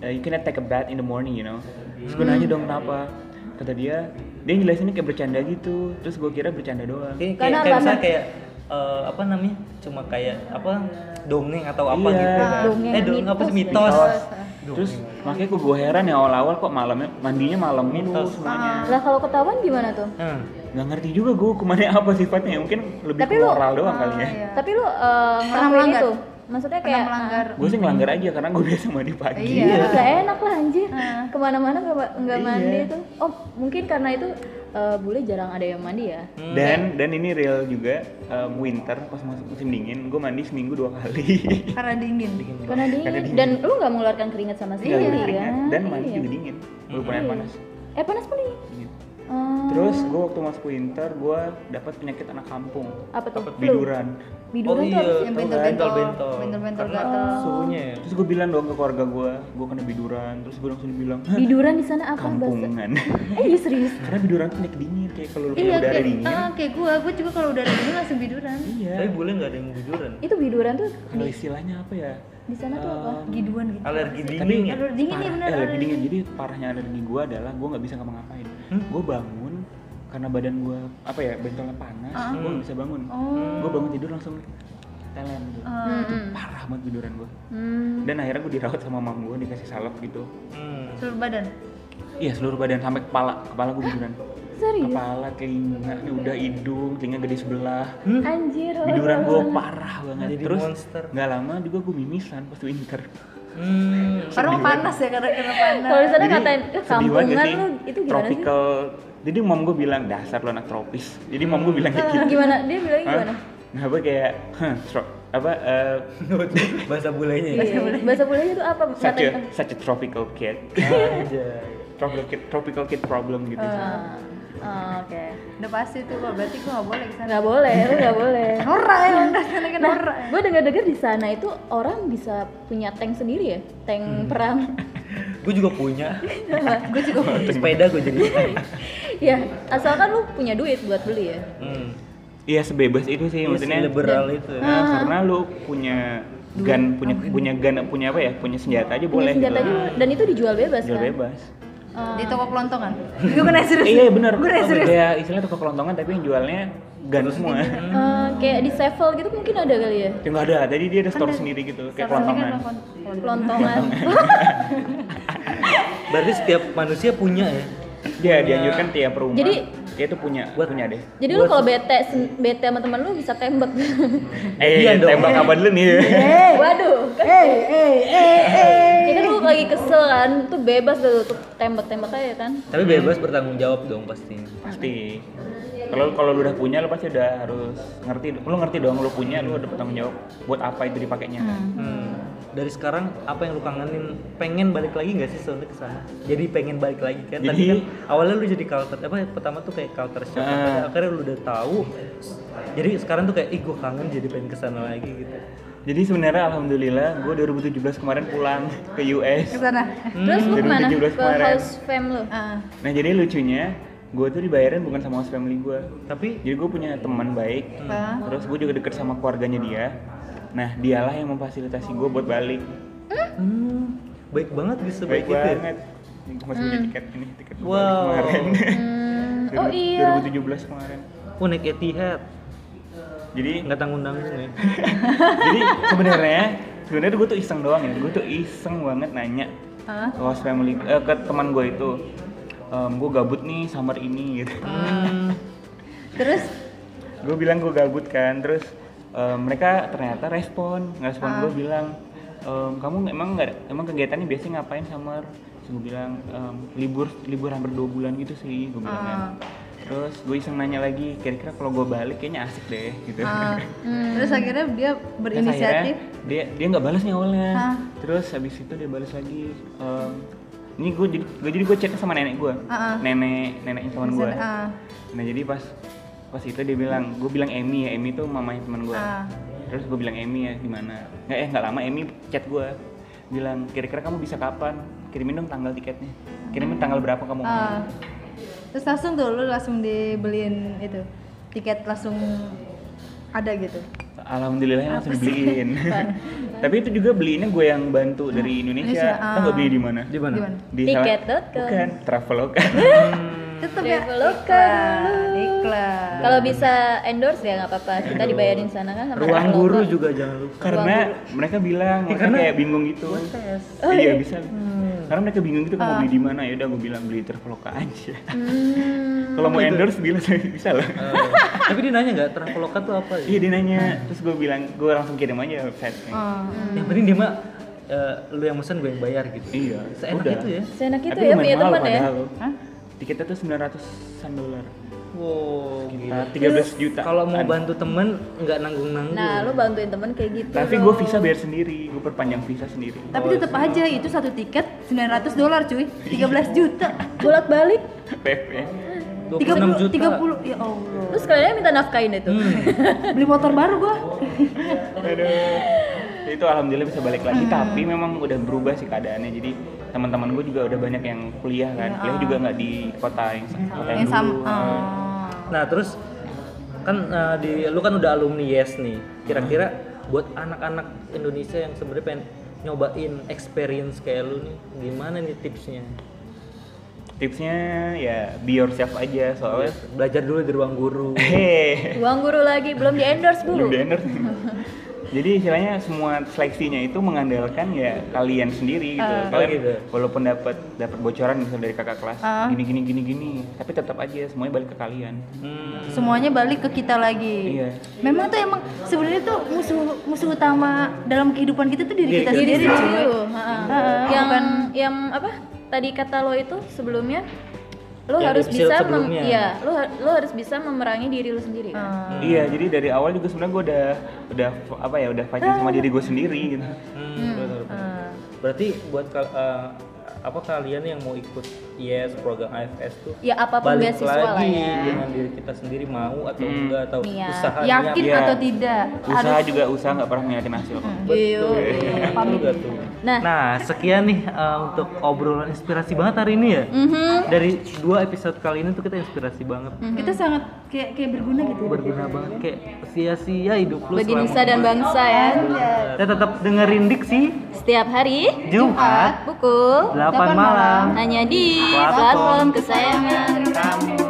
Speaker 4: uh, you cannot take a bath in the morning you know terus gua nanya dong kenapa kata dia dia jelasinnya kayak bercanda gitu terus gua kira bercanda doang
Speaker 3: Kayak kayak,
Speaker 2: Karena
Speaker 3: kayak
Speaker 2: apa?
Speaker 3: misalnya kayak eh, apa namanya? Cuma kayak apa dongeng atau apa
Speaker 4: Iya.
Speaker 3: gitu. kan.
Speaker 2: Dongeng,
Speaker 3: eh dongeng apa sih mitos?
Speaker 2: mitos.
Speaker 4: Terus makanya kok gue heran ya awal-awal kok malamnya mandinya malam mulu
Speaker 3: Mitos.
Speaker 1: Ah,
Speaker 4: semuanya.
Speaker 2: Lah kalau ketahuan gimana tuh?
Speaker 3: Hmm.
Speaker 4: Nggak ngerti juga gue hukumannya apa sifatnya ya, mungkin lebih
Speaker 2: Tapi
Speaker 4: ke
Speaker 2: lu- Ah, iya.
Speaker 4: moral doang kali ya.
Speaker 2: Tapi lu eh, ngelakuin
Speaker 1: Iya. melanggar?
Speaker 2: itu? Maksudnya
Speaker 1: pernah
Speaker 2: kayak
Speaker 1: melanggar
Speaker 4: Gue sih ngelanggar aja karena gue biasa mandi pagi.
Speaker 1: Iya.
Speaker 2: "Ah, nggak enak lah anjir.
Speaker 1: Ah.
Speaker 2: Kemana-mana nggak nggak
Speaker 4: Iya.
Speaker 2: mandi tuh. Oh mungkin karena itu eh bule jarang ada yang mandi ya.
Speaker 4: Dan dan ini real juga em, winter pas masuk musim dingin gue mandi seminggu dua kali.
Speaker 1: karena dingin
Speaker 2: Karena dingin dan lu nggak mengeluarkan keringat sama
Speaker 4: Nggak
Speaker 2: sekali
Speaker 4: Iya, keringat.
Speaker 2: kan?
Speaker 4: Dan mandi
Speaker 2: Iya.
Speaker 4: juga dingin. Gue pernah
Speaker 2: Iya.
Speaker 4: panas.
Speaker 2: Eh panas pun dingin.
Speaker 4: Dingin.
Speaker 2: Eh,
Speaker 4: Terus gue waktu masuk winter gue dapat penyakit anak kampung.
Speaker 2: apa tuh? Flu.
Speaker 4: Biduran. Oh, iya.
Speaker 2: Biduran tuh apa sih?
Speaker 1: yang
Speaker 3: tau kan,
Speaker 1: bentol-bentol,
Speaker 3: bentol-bentol.
Speaker 1: bentol-bentol
Speaker 3: Karena
Speaker 1: gatel.
Speaker 3: suhunya ya.
Speaker 4: Terus gue bilang dong ke keluarga gue, gue kena biduran. Terus gue langsung bilang, "Hah,
Speaker 2: Biduran di sana apa bahasa?
Speaker 4: kampungan.
Speaker 2: Eh iya serius.
Speaker 4: Karena biduran tuh naik dingin kayak kalau lu punya
Speaker 1: iya
Speaker 4: udara
Speaker 1: kayak
Speaker 4: dingin.
Speaker 1: ah, kayak gue gue juga kalau udara dingin langsung biduran
Speaker 4: Iya.
Speaker 2: Eh,
Speaker 3: Tapi boleh nggak ada yang bujuran?
Speaker 2: Itu biduran tuh
Speaker 4: Kalau istilahnya apa ya? Um,
Speaker 2: di sana tuh apa?
Speaker 1: giduan gitu
Speaker 3: Alergi dingin
Speaker 4: Tapi
Speaker 3: ya?
Speaker 1: Alergi dingin ya
Speaker 4: parah-
Speaker 1: benar
Speaker 4: eh, alergi dingin. Jadi parahnya alergi gue adalah gue nggak bisa ngapa-ngapain.
Speaker 3: Hmm.
Speaker 4: Gue bangun karena badan gue apa ya bentolnya panas, gue nggak bisa bangun. Gue bangun tidur langsung telan gitu.
Speaker 1: Ah. hmm.
Speaker 4: Itu parah banget biduran gue.
Speaker 2: Hmm.
Speaker 4: Dan akhirnya gue dirawat sama mam gue dikasih salep gitu.
Speaker 3: Hmm.
Speaker 1: seluruh badan
Speaker 4: Iya seluruh badan sampai kepala, kepala gue biduran.
Speaker 2: Serius.
Speaker 4: Kepala, telinga, udah hidung, telinga gede sebelah.
Speaker 2: Anjir.
Speaker 4: Biduran gue parah banget.
Speaker 3: Jadi
Speaker 4: Terus
Speaker 3: monster.
Speaker 4: nggak lama juga gue mimisan pas winter.
Speaker 3: Hmm.
Speaker 1: karena mau panas ya karena karena panas
Speaker 2: Kalau di sana
Speaker 4: Jadi,
Speaker 2: katain "Eh,
Speaker 4: sedih banget
Speaker 2: kampungan
Speaker 4: sih?
Speaker 2: lu itu gimana sih?
Speaker 4: Tropical. Jadi mom gue bilang dasar lo anak tropis. Jadi mom gue bilang kayak gitu.
Speaker 2: Gimana? Dia bilang
Speaker 4: Hah?
Speaker 2: gimana?
Speaker 4: Nah gue kayak, "Hah, tro- eh, apa eh,
Speaker 3: bahasa bulenya ya?
Speaker 2: Iya. Bahasa bulenya itu apa?
Speaker 4: such a,
Speaker 2: Kata-
Speaker 4: such a tropical kid
Speaker 3: Anjay.
Speaker 4: tropical kid tropical kid problem gitu
Speaker 2: Ah, ah, Oke.
Speaker 1: Udah pasti tuh kok, berarti gue gak boleh kesana
Speaker 2: Nggak boleh, lu nggak boleh.
Speaker 1: Norak ya, udah sana kan norak
Speaker 2: Gue dengar-dengar di sana itu orang bisa punya tank sendiri ya, tank
Speaker 4: Hmm.
Speaker 2: perang.
Speaker 3: gue juga punya
Speaker 1: Gue juga
Speaker 3: sepeda gue jadi
Speaker 2: ya, asalkan lu punya duit buat beli ya.
Speaker 3: hmm.
Speaker 4: iya sebebas itu sih
Speaker 3: Iya,
Speaker 4: maksudnya
Speaker 3: liberal itu
Speaker 4: Nah,
Speaker 2: Ah.
Speaker 4: karena lu punya gun punya punya gun punya apa ya punya senjata aja
Speaker 2: Punya
Speaker 4: boleh
Speaker 2: senjata
Speaker 4: gitu.
Speaker 2: juga dan itu dijual bebas
Speaker 4: Jual
Speaker 2: kan.
Speaker 4: bebas
Speaker 1: Di toko kelontongan Gue kena serius
Speaker 4: Eh, iya benar
Speaker 1: Gue kena serius
Speaker 4: ya istilahnya toko kelontongan tapi yang jualnya gun semua
Speaker 2: Eh, kayak di Sevel gitu mungkin ada kali ya.
Speaker 4: ya nggak ada jadi dia ada store sendiri gitu kayak kelontongan
Speaker 2: Kelontongan.
Speaker 3: berarti setiap manusia punya ya
Speaker 4: dia dianjurkan tiap rumah
Speaker 2: Jadi-
Speaker 4: dia tuh punya
Speaker 3: Buat-
Speaker 4: punya deh
Speaker 2: Jadi lu kalau bete sen- bete sama temen lu bisa tembak.
Speaker 4: eh
Speaker 3: Iya dong. Iya.
Speaker 4: tembak apa dulu nih eh,
Speaker 2: Waduh, kan
Speaker 1: Hey, hey, hey, hey
Speaker 2: ya kan lu lagi kesel kan, tuh bebas tuh tuh tembak-tembak aja kan.
Speaker 3: tapi bebas bertanggung jawab dong pastinya
Speaker 4: pasti kalau kalau lu udah punya lu pasti udah harus ngerti lu ngerti dong lu punya lu udah bertanggung jawab buat apa itu dipakainya kan
Speaker 3: Hmm. Dari sekarang apa yang lu kangenin? Pengen balik lagi nggak sih sebenarnya ke sana? Jadi pengen balik lagi kan? Tadi
Speaker 4: Jadi-
Speaker 3: kan awalnya lu jadi culture apa? ya, Pertama tuh kayak culture shock.
Speaker 4: Ah.
Speaker 3: tapi Akhirnya lu udah tahu. Jadi sekarang tuh kayak ih gua kangen jadi pengen ke sana lagi gitu.
Speaker 4: jadi sebenarnya alhamdulillah gue 2017 kemarin pulang ke US
Speaker 1: Kesana
Speaker 2: Terus lu
Speaker 4: Dari
Speaker 2: kemana?
Speaker 4: 17
Speaker 2: Ke
Speaker 4: kemarin.
Speaker 2: house fam lu.
Speaker 1: Ah.
Speaker 4: nah jadi lucunya gue tuh dibayarin bukan sama host family gue
Speaker 3: Tapi
Speaker 4: jadi gue punya teman baik
Speaker 1: Apa?
Speaker 4: terus gue juga deket sama keluarganya dia nah dialah yang memfasilitasi gue buat balik
Speaker 3: hmm, baik banget gitu
Speaker 4: baik
Speaker 3: sebaik itu. Ya?
Speaker 4: banget Ini gua masih punya tiket ini tiket gua
Speaker 3: Wow.
Speaker 4: balik kemarin
Speaker 2: Hmm, oh iya.
Speaker 4: 2017 kemarin
Speaker 3: Oh naik Etihad,
Speaker 4: jadi
Speaker 3: nggak tanggung tanggung ya.
Speaker 4: jadi sebenarnya sebenarnya gue tuh iseng doang ya gue tuh iseng banget nanya
Speaker 1: Hah?
Speaker 4: ke host family eh, ke teman gue itu gue gabut nih summer ini gitu
Speaker 3: Hmm,
Speaker 1: Terus
Speaker 4: gue bilang gue gabut kan terus eh, mereka ternyata respon nggak respon
Speaker 1: Ah.
Speaker 4: gue bilang "Em, kamu emang nggak emang kegiatannya biasanya ngapain summer terus gue bilang "Em, libur libur hampir dua bulan gitu sih gue bilang
Speaker 1: Ah.
Speaker 4: kan terus gue iseng nanya lagi kira-kira kalau gue balik kayaknya asik deh gitu
Speaker 1: ah. Terus akhirnya dia
Speaker 4: Terus akhirnya
Speaker 1: berinisiatif Ah.
Speaker 4: dia dia nggak balas nih awalnya
Speaker 1: Hah?
Speaker 4: terus habis itu dia balas lagi "Em, ini gue jadi gue jadi gue chat sama nenek gue
Speaker 1: Ah, ah.
Speaker 4: nenek neneknya teman gue
Speaker 1: Ah.
Speaker 4: Nah jadi pas pas itu dia bilang, gue bilang Emmy ya, Emmy tuh mamanya teman gue.
Speaker 1: Ah.
Speaker 4: Terus gue bilang Emmy ya gimana? Nggak eh nggak lama Emmy chat gue bilang kira-kira kamu bisa kapan? Kirimin dong tanggal tiketnya. Kirimin tanggal berapa kamu mau?
Speaker 1: Hmm. Ah. Terus langsung tuh lu langsung dibeliin itu tiket langsung ada gitu.
Speaker 4: Alhamdulillahnya langsung dibeliin. Tapi itu juga beliinnya gue yang bantu dari Indonesia.
Speaker 1: Indonesia,
Speaker 4: Tau nggak
Speaker 1: ah.
Speaker 4: beli di mana?
Speaker 3: di mana?
Speaker 1: Gimana?
Speaker 4: Di
Speaker 2: Tiket.com.
Speaker 4: salah- Bukan, Traveloka.
Speaker 1: Tetep ya
Speaker 2: Traveloka.
Speaker 1: iklan.
Speaker 2: Kalau bisa endorse ya nggak apa-apa. Kita dibayarin sana kan sama
Speaker 3: Ruang
Speaker 2: orang
Speaker 3: guru
Speaker 2: lokal.
Speaker 3: juga jangan lupa.
Speaker 4: karena mereka bilang mereka
Speaker 3: Ya, karena- Oh,
Speaker 4: kayak bingung gitu. iya bisa.
Speaker 3: Hmm.
Speaker 4: Karena mereka bingung gitu mau
Speaker 3: Ah.
Speaker 4: beli di mana ya udah gue bilang beli Traveloka aja.
Speaker 2: Hmm,
Speaker 4: Kalau
Speaker 3: Gitu.
Speaker 4: mau endorse bila bisa lah.
Speaker 3: Eh, tapi dia nanya nggak traveloka tuh apa? Ya?
Speaker 4: Iya dia nanya, terus gue bilang gue langsung kirim aja websitenya.
Speaker 3: Oh.
Speaker 1: Ah.
Speaker 3: Yang penting dia mah eh, lu yang pesan gue yang bayar gitu.
Speaker 4: Iya,
Speaker 3: Seenak
Speaker 4: udah.
Speaker 3: itu ya.
Speaker 2: seenak itu
Speaker 4: Tapi
Speaker 2: ya
Speaker 4: lumayan
Speaker 2: punya
Speaker 4: mahal
Speaker 2: teman ya.
Speaker 4: padahal.
Speaker 1: Hah?
Speaker 4: Tiketnya tuh 900-an dolar.
Speaker 3: Wow, gila.
Speaker 4: Tiga belas juta.
Speaker 3: Kalau mau bantu temen nggak nanggung nanggung.
Speaker 2: Nah, lu bantuin temen kayak gitu.
Speaker 4: Tapi
Speaker 2: loh.
Speaker 4: gue visa bayar sendiri, gue perpanjang visa sendiri.
Speaker 1: Tapi tetep aja itu satu tiket 900 dolar cuy, 13 juta.
Speaker 2: bolak-balik
Speaker 4: PP.
Speaker 3: 26 juta.
Speaker 1: 30 ya Allah.
Speaker 2: terus kalian minta nafkahin itu.
Speaker 4: Hmm.
Speaker 1: Beli motor baru gua.
Speaker 4: Aduh. Ya, Itu alhamdulillah bisa balik lagi, tapi memang udah berubah sih keadaannya. Jadi teman-teman gue juga udah banyak yang kuliah kan, kuliah juga nggak di kota yang kota yang
Speaker 1: Yang sama.
Speaker 4: dulu.
Speaker 1: ah.
Speaker 3: Nah, terus kan eh, di lu kan udah alumni Yes nih. Kira-kira buat anak-anak Indonesia yang sebenarnya pengen nyobain experience kayak lu nih, gimana nih tipsnya?
Speaker 4: Tipsnya ya be yourself aja soalnya.
Speaker 3: Belajar dulu di ruang guru.
Speaker 4: Hehehe.
Speaker 2: Uang guru lagi belum di endorse
Speaker 4: belum
Speaker 2: bu.
Speaker 4: di endorse. jadi istilahnya semua seleksinya itu mengandalkan ya kalian sendiri gitu kalian
Speaker 3: Oh, gitu.
Speaker 4: walaupun dapat dapat bocoran misalnya dari kakak kelas
Speaker 1: Ah.
Speaker 4: gini gini gini gini tapi tetap aja semuanya balik ke kalian
Speaker 3: Hmm.
Speaker 1: Semuanya balik ke kita lagi.
Speaker 4: Iya.
Speaker 1: Memang tuh emang sebenarnya tuh musuh musuh utama dalam kehidupan kita tuh diri kita sendiri. cuy.
Speaker 2: Diri Iya. sendiri, ha-ha.
Speaker 1: Ha-ha,
Speaker 2: yang
Speaker 1: bukan-
Speaker 2: yang apa tadi kata lo itu sebelumnya lu
Speaker 3: Yang di
Speaker 2: harus
Speaker 3: episode
Speaker 2: bisa mem-
Speaker 3: sebelumnya.
Speaker 2: iya, lu ha- lu harus bisa memerangi diri lu sendiri kan.
Speaker 1: Hmm.
Speaker 4: Iya, jadi dari awal juga sebenarnya gue udah udah f- apa ya udah fighting sama diri gue sendiri gitu.
Speaker 3: Hmm, benar, benar.
Speaker 2: ah.
Speaker 3: Berarti buat kal- eh, apa kalian yang mau ikut IES program AFS tuh
Speaker 2: Ya apapun
Speaker 3: balik
Speaker 2: beasiswa lah
Speaker 3: lagi
Speaker 2: ya.
Speaker 3: dengan diri kita sendiri mau atau
Speaker 4: Hmm.
Speaker 3: enggak atau
Speaker 2: Niat.
Speaker 3: usaha
Speaker 1: yakin
Speaker 4: Iya.
Speaker 1: atau tidak
Speaker 4: Usaha juga usaha nggak pernah ngeliatin hasil kok.
Speaker 2: Iyo. ya,
Speaker 3: Betul gak tuh?
Speaker 2: Nah.
Speaker 3: sekian nih eh, untuk obrolan inspirasi banget hari ini ya.
Speaker 2: Mhm.
Speaker 3: Dari dua episode kali ini tuh kita inspirasi banget.
Speaker 1: kita sangat kayak kayak berguna gitu
Speaker 3: Berguna banget kayak sia-sia hidup lu
Speaker 2: Bagi
Speaker 3: selama
Speaker 2: Nisa dan bangsa ya.
Speaker 3: Kita tetap dengerin diksi
Speaker 2: Setiap hari
Speaker 3: Jumat
Speaker 2: pukul
Speaker 3: 8 malam.
Speaker 2: hanya di platform
Speaker 3: Platform
Speaker 2: kesayangan.
Speaker 3: Kamu.